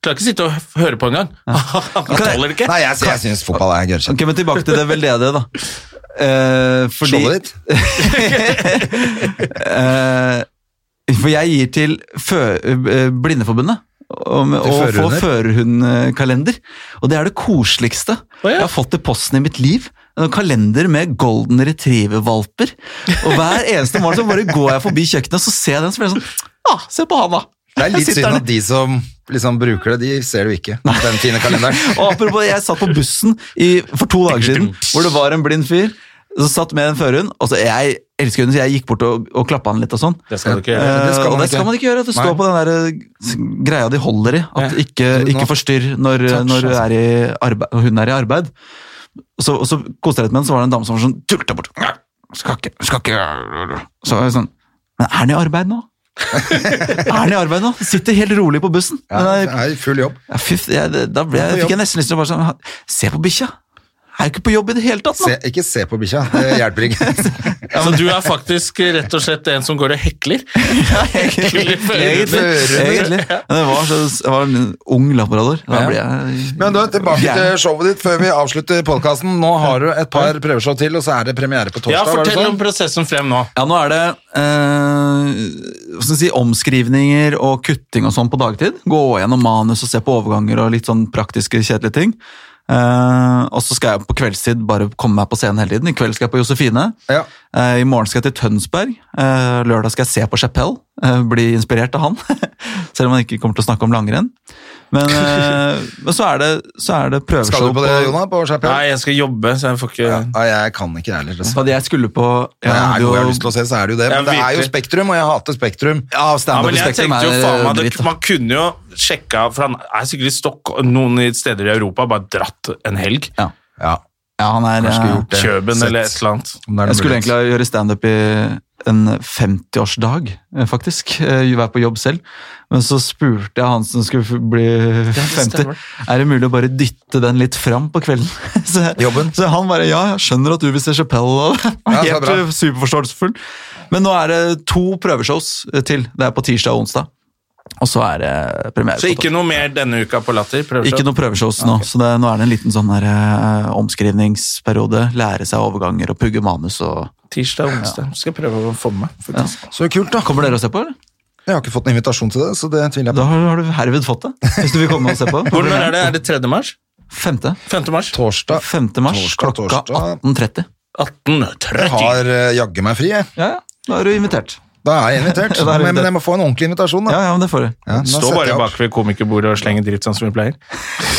Speaker 2: Klarer ikke sitte og h- høre på engang. Han tåler det ikke.
Speaker 1: Nei, jeg, jeg syns fotball er gørrkjent.
Speaker 3: Ok, men tilbake til det veldedige, da. Eh, fordi
Speaker 1: Skjoldet ditt?
Speaker 3: eh, For jeg gir til fø eh, Blindeforbundet. Om å få
Speaker 1: førerhunder.
Speaker 3: førerhundkalender. Og det er det koseligste
Speaker 2: ja.
Speaker 3: jeg har fått i posten i mitt liv. En kalender med golden retriever-valper. Og hver eneste morgen så bare går jeg forbi kjøkkenet og så ser jeg den, så blir jeg sånn ah, Se på han, da!
Speaker 1: Det er
Speaker 3: Jeg
Speaker 1: litt
Speaker 3: sitter
Speaker 1: synd
Speaker 3: der.
Speaker 1: at de som liksom bruker det, de ser det jo ikke. Den fine kalenderen.
Speaker 3: Og apropos, jeg satt på bussen i, for to dager siden, hvor det var en blind fyr som satt med en førhund. Og så jeg elsker hunden, så jeg gikk bort og, og klappa han litt og sånn.
Speaker 2: Det skal du ikke
Speaker 3: Eh,
Speaker 2: gjøre.
Speaker 1: det skal man
Speaker 3: og det
Speaker 1: ikke.
Speaker 3: skal man ikke gjøre.
Speaker 1: Nei.
Speaker 3: Det står på den der eh, greia de holder i. At ikke,
Speaker 1: Du, altså. nå-
Speaker 3: ikke forstyrr når, når du er i arbeid, når hun er i arbeid. Og så, og så koste jeg litt med den, så var det en dame som var sånn tulta bort. Skal ikke, skal ikke. Så var jeg sånn, men er han i arbeid nå? er han i arbeid nå? Sitter helt rolig på bussen.
Speaker 1: Ja,
Speaker 3: Men
Speaker 1: det er i full jobb.
Speaker 3: ja, fy, f- jeg, da ble, jeg, fikk jeg nesten lyst til å bare sånn Se på bikkja! Er jo ikke på jobb i det hele tatt, nå!
Speaker 1: Se, ikke se på bikkja, det hjelper ikke.
Speaker 2: Så du er faktisk eh, rett og slett en som går og hekler?
Speaker 3: egentlig, egentlig.
Speaker 1: Førerhunder.
Speaker 3: egentlig. Men det var, så, jeg var en ung labrador. Da ble jeg
Speaker 1: Men du, tilbake til
Speaker 3: Gjerne.
Speaker 1: showet ditt før vi avslutter podkasten. Nå har du et par prøveshow til, og så er det premiere på torsdag. var
Speaker 2: Ja,
Speaker 1: det
Speaker 2: fortell om
Speaker 1: sånn?
Speaker 2: prosessen frem nå.
Speaker 3: Ja, nå er det eh, hva skal jeg si, omskrivninger og kutting og sånn på dagtid. Gå gjennom manus og se på overganger og litt sånn praktiske, kjedelige ting. Eh, og så skal jeg på kveldstid bare komme meg på scenen hele tiden. I kveld skal jeg på Josefine.
Speaker 1: Ja.
Speaker 3: Eh, I morgen skal jeg til Tønsberg. Eh, Lørdag skal jeg se på Chapell. eh, Bli inspirert av han. Selv om han ikke kommer til å snakke om langrenn. Men, eh, men så er det, så er det prøveshow
Speaker 1: Skal du på det, Jona? På Chapelle?
Speaker 2: Nei, jeg skal jobbe, så jeg får ikke
Speaker 1: Ja, jeg kan ikke jeg heller. dessverre.
Speaker 3: Fordi jeg skulle på
Speaker 1: Men Jeg er
Speaker 3: hadde
Speaker 1: jo, jeg har
Speaker 3: jo-
Speaker 1: lyst til å se, så er det jo det.
Speaker 2: Ja,
Speaker 1: Men det er jo
Speaker 2: virkelig.
Speaker 1: Spektrum, og jeg hater Spektrum.
Speaker 3: Ja,
Speaker 2: Ja,
Speaker 3: standup
Speaker 2: men
Speaker 3: i
Speaker 2: jeg
Speaker 3: Spektrum
Speaker 2: tenkte jo
Speaker 3: er
Speaker 2: faen meg
Speaker 3: dritt.
Speaker 2: det, Man kunne jo sjekka For han er sikkert i Stockholm Noen i steder i Europa har bare dratt en helg.
Speaker 3: Ja.
Speaker 1: Ja,
Speaker 3: Ja, han er,
Speaker 1: kanskje
Speaker 3: eh,
Speaker 1: gjort det.
Speaker 2: Kjøben
Speaker 1: Sett.
Speaker 2: eller et eller annet.
Speaker 1: Om det er noe
Speaker 3: jeg skulle
Speaker 1: mulighet.
Speaker 3: egentlig gjøre standup i en 50-årsdag, eh, faktisk. Eh, Være på jobb selv. Men så spurte jeg han som skulle f- bli 50,
Speaker 2: stemmer.
Speaker 3: er det mulig å bare dytte den litt fram på kvelden? Så,
Speaker 1: Jobben.
Speaker 3: så han bare ja, jeg skjønner at du vil se Chapelle. og
Speaker 1: Ja, så
Speaker 3: Helt
Speaker 1: bra.
Speaker 3: eh, superforståelsesfull. Men nå er det to prøveshows eh, til. Det er på tirsdag og onsdag. Og så er det premiere.
Speaker 2: Så
Speaker 3: på
Speaker 2: ikke
Speaker 3: torsdag.
Speaker 2: noe mer denne uka på Latter? prøveshow?
Speaker 3: Ikke noen prøveshows nå, så det, nå er det en liten sånn der, eh, omskrivningsperiode. Lære seg overganger og pugge manus og
Speaker 2: Tirsdag og onsdag. Skal jeg prøve å få med meg. faktisk.
Speaker 1: Så kult, da.
Speaker 3: Kommer dere og ser på, eller?
Speaker 1: Jeg har ikke fått en invitasjon til det, så det tviler jeg
Speaker 3: Da
Speaker 1: på.
Speaker 3: har, har du herved fått det, hvis du vil komme og se på.
Speaker 2: Hvor når er det? Er det 3. mars?
Speaker 3: Femte.
Speaker 2: 5. mars?
Speaker 1: Torsdag
Speaker 3: 5. mars
Speaker 1: Torsdag,
Speaker 3: klokka
Speaker 1: torsdag.
Speaker 3: 18.30.
Speaker 2: 18.30.
Speaker 1: Jeg har eh, jaggu meg fri, jeg.
Speaker 3: Ja, ja. Da er du invitert.
Speaker 1: Da er jeg invitert.
Speaker 3: Ja, da er du
Speaker 1: men,
Speaker 3: invitert.
Speaker 1: men jeg må få en ordentlig invitasjon, da.
Speaker 3: Ja, ja, men det får du.
Speaker 1: Ja, da setter
Speaker 2: Stå
Speaker 1: jeg
Speaker 2: bare
Speaker 1: opp.
Speaker 2: bak ved komikerbordet og slenge dritt sånn som vi pleier.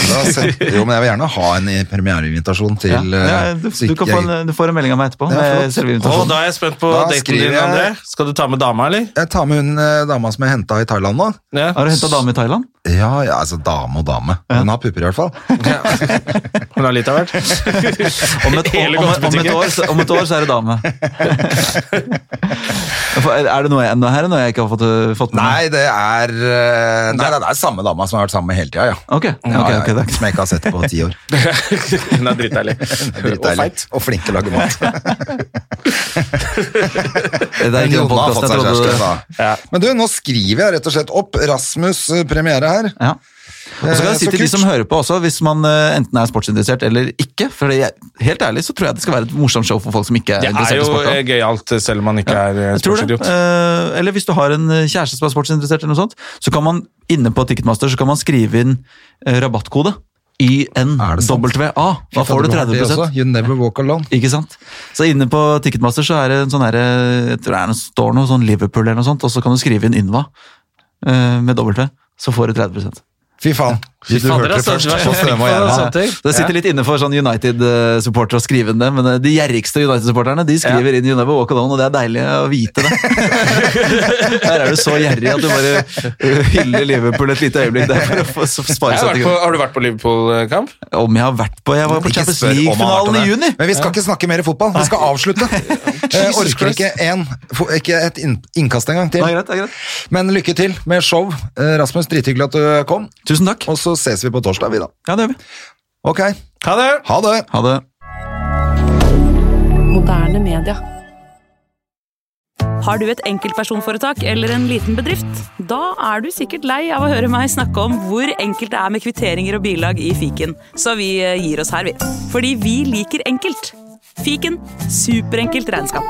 Speaker 1: Da setter, jo, men jeg vil gjerne ha en i- premiereinvitasjon til
Speaker 3: Ja.
Speaker 1: eh,
Speaker 3: Ja, du,
Speaker 1: så
Speaker 3: du, kan
Speaker 1: ikke
Speaker 3: få
Speaker 1: jeg-
Speaker 3: en, eh, du får en melding av meg etterpå.
Speaker 1: Ja,
Speaker 3: med
Speaker 1: flott.
Speaker 3: selve
Speaker 2: Og
Speaker 3: invitasjonen.
Speaker 2: da er jeg spent på
Speaker 1: Da
Speaker 2: daten
Speaker 1: skriver
Speaker 2: din,
Speaker 1: jeg-
Speaker 2: André. Skal du ta med dama, eller?
Speaker 1: Jeg tar med hun eh, dama som jeg henta i Thailand nå.
Speaker 2: Ja.
Speaker 3: Har du henta dame i Thailand?
Speaker 1: Ja, ja, altså dame og dame. Hun har pupper i hvert fall.
Speaker 2: Men litt av hvert.
Speaker 3: Om et, om,
Speaker 2: Hele
Speaker 3: om, om, et
Speaker 2: godtebutikken.
Speaker 3: år, så- om et år så er det dame. For er- Er det noe jeg, enda her, er det noe jeg ikke har fått, fått med meg?
Speaker 1: Nei, det er eh, Nei, det er samme dama som har vært sammen hele tida, ja.
Speaker 3: Ok,
Speaker 1: Ja,
Speaker 3: ok,
Speaker 1: ja,
Speaker 3: ok, det er ikke-
Speaker 1: Som jeg ikke har sett på ti år.
Speaker 2: Hun er dritdeilig.
Speaker 1: Dritdeilig.
Speaker 2: Og feit.
Speaker 1: Og flink til å lage mat.
Speaker 3: det
Speaker 1: Men
Speaker 3: er ikke noen
Speaker 1: Jonna har
Speaker 3: podcast,
Speaker 1: fått seg
Speaker 3: jeg trodde-
Speaker 1: kjæreste, da.
Speaker 2: Ja.
Speaker 1: Men du, nå skriver jeg rett og slett opp Rasmus' eh, premiere her.
Speaker 3: Ja. Og så kan jeg si
Speaker 1: Eh, så
Speaker 3: til de
Speaker 1: kult.
Speaker 3: som hører på også, hvis man eh, enten er sportsinteressert eller ikke, for det, helt ærlig så tror jeg det skal være et morsomt show for folk som ikke er
Speaker 2: Det er
Speaker 3: interessert i
Speaker 2: jo
Speaker 3: sport. da.
Speaker 2: eh, gøyalt, selv om man ikke er eh,
Speaker 3: Jeg tror det.
Speaker 2: sportsidiot.
Speaker 3: Eh, eller hvis du har en eh, kjæreste som er sportsinteressert, eller noe sånt, så kan man inne på Ticketmaster så kan man skrive inn eh, rabattkode
Speaker 1: Er det sant?
Speaker 3: YNWA. Da får du
Speaker 1: Det var det
Speaker 3: 30
Speaker 1: også. You never walk alone.
Speaker 3: ikke sant? Så inne på Ticketmaster så er det en sånn her, eh, jeg tror det er noe, står noe sånn Liverpool eller noe sånt, og så kan du skrive inn INVA eh, med W, så får du 30
Speaker 1: Fy faen. Du
Speaker 2: fader,
Speaker 1: hørte det
Speaker 2: altså,
Speaker 1: først
Speaker 2: du er
Speaker 1: på
Speaker 2: flink
Speaker 1: Støme
Speaker 2: på
Speaker 1: og
Speaker 2: det,
Speaker 1: Gjerman.
Speaker 2: sant? ting.
Speaker 3: Det sitter litt inne for sånn United-supportere å skrive inn det, men eh, de gjerrigste United-supporterne de skriver inn You Never Walk Alone, og det er deilig å vite det. Her er du så gjerrig at du bare eh, hyller Liverpool et lite øyeblikk der for å få s- spare
Speaker 2: Jeg har,
Speaker 3: seg
Speaker 2: vært
Speaker 3: til
Speaker 2: på,
Speaker 3: grunn.
Speaker 2: har du vært på Liverpool-kamp?
Speaker 3: Om jeg har vært på Jeg var på
Speaker 1: Ikke
Speaker 3: Champions
Speaker 1: spør om han har vært
Speaker 3: League-finalen i
Speaker 1: det.
Speaker 3: juni!
Speaker 1: Men vi skal ikke snakke mer i fotball. Vi skal avslutte. Jeg orker ikke, en, for- ikke et inn- innkast engang
Speaker 3: Det
Speaker 1: til.
Speaker 3: er greit, det er greit.
Speaker 1: Men lykke til med show. Eh, Rasmus, drithyggelig at du kom.
Speaker 3: Tusen takk.
Speaker 1: Og så ses vi på torsdag, vi da.
Speaker 3: Ja, det gjør vi.
Speaker 1: Ok,
Speaker 2: Ha det!
Speaker 1: ha det!
Speaker 3: Ha det.
Speaker 4: Moderne media.
Speaker 5: Har du et enkeltpersonforetak eller en liten bedrift? Da er du sikkert lei av å høre meg snakke om hvor enkelt det er med kvitteringer og bilag i fiken, så eh, vi gir oss her, vi. Fordi vi liker enkelt. Fiken superenkelt regnskap.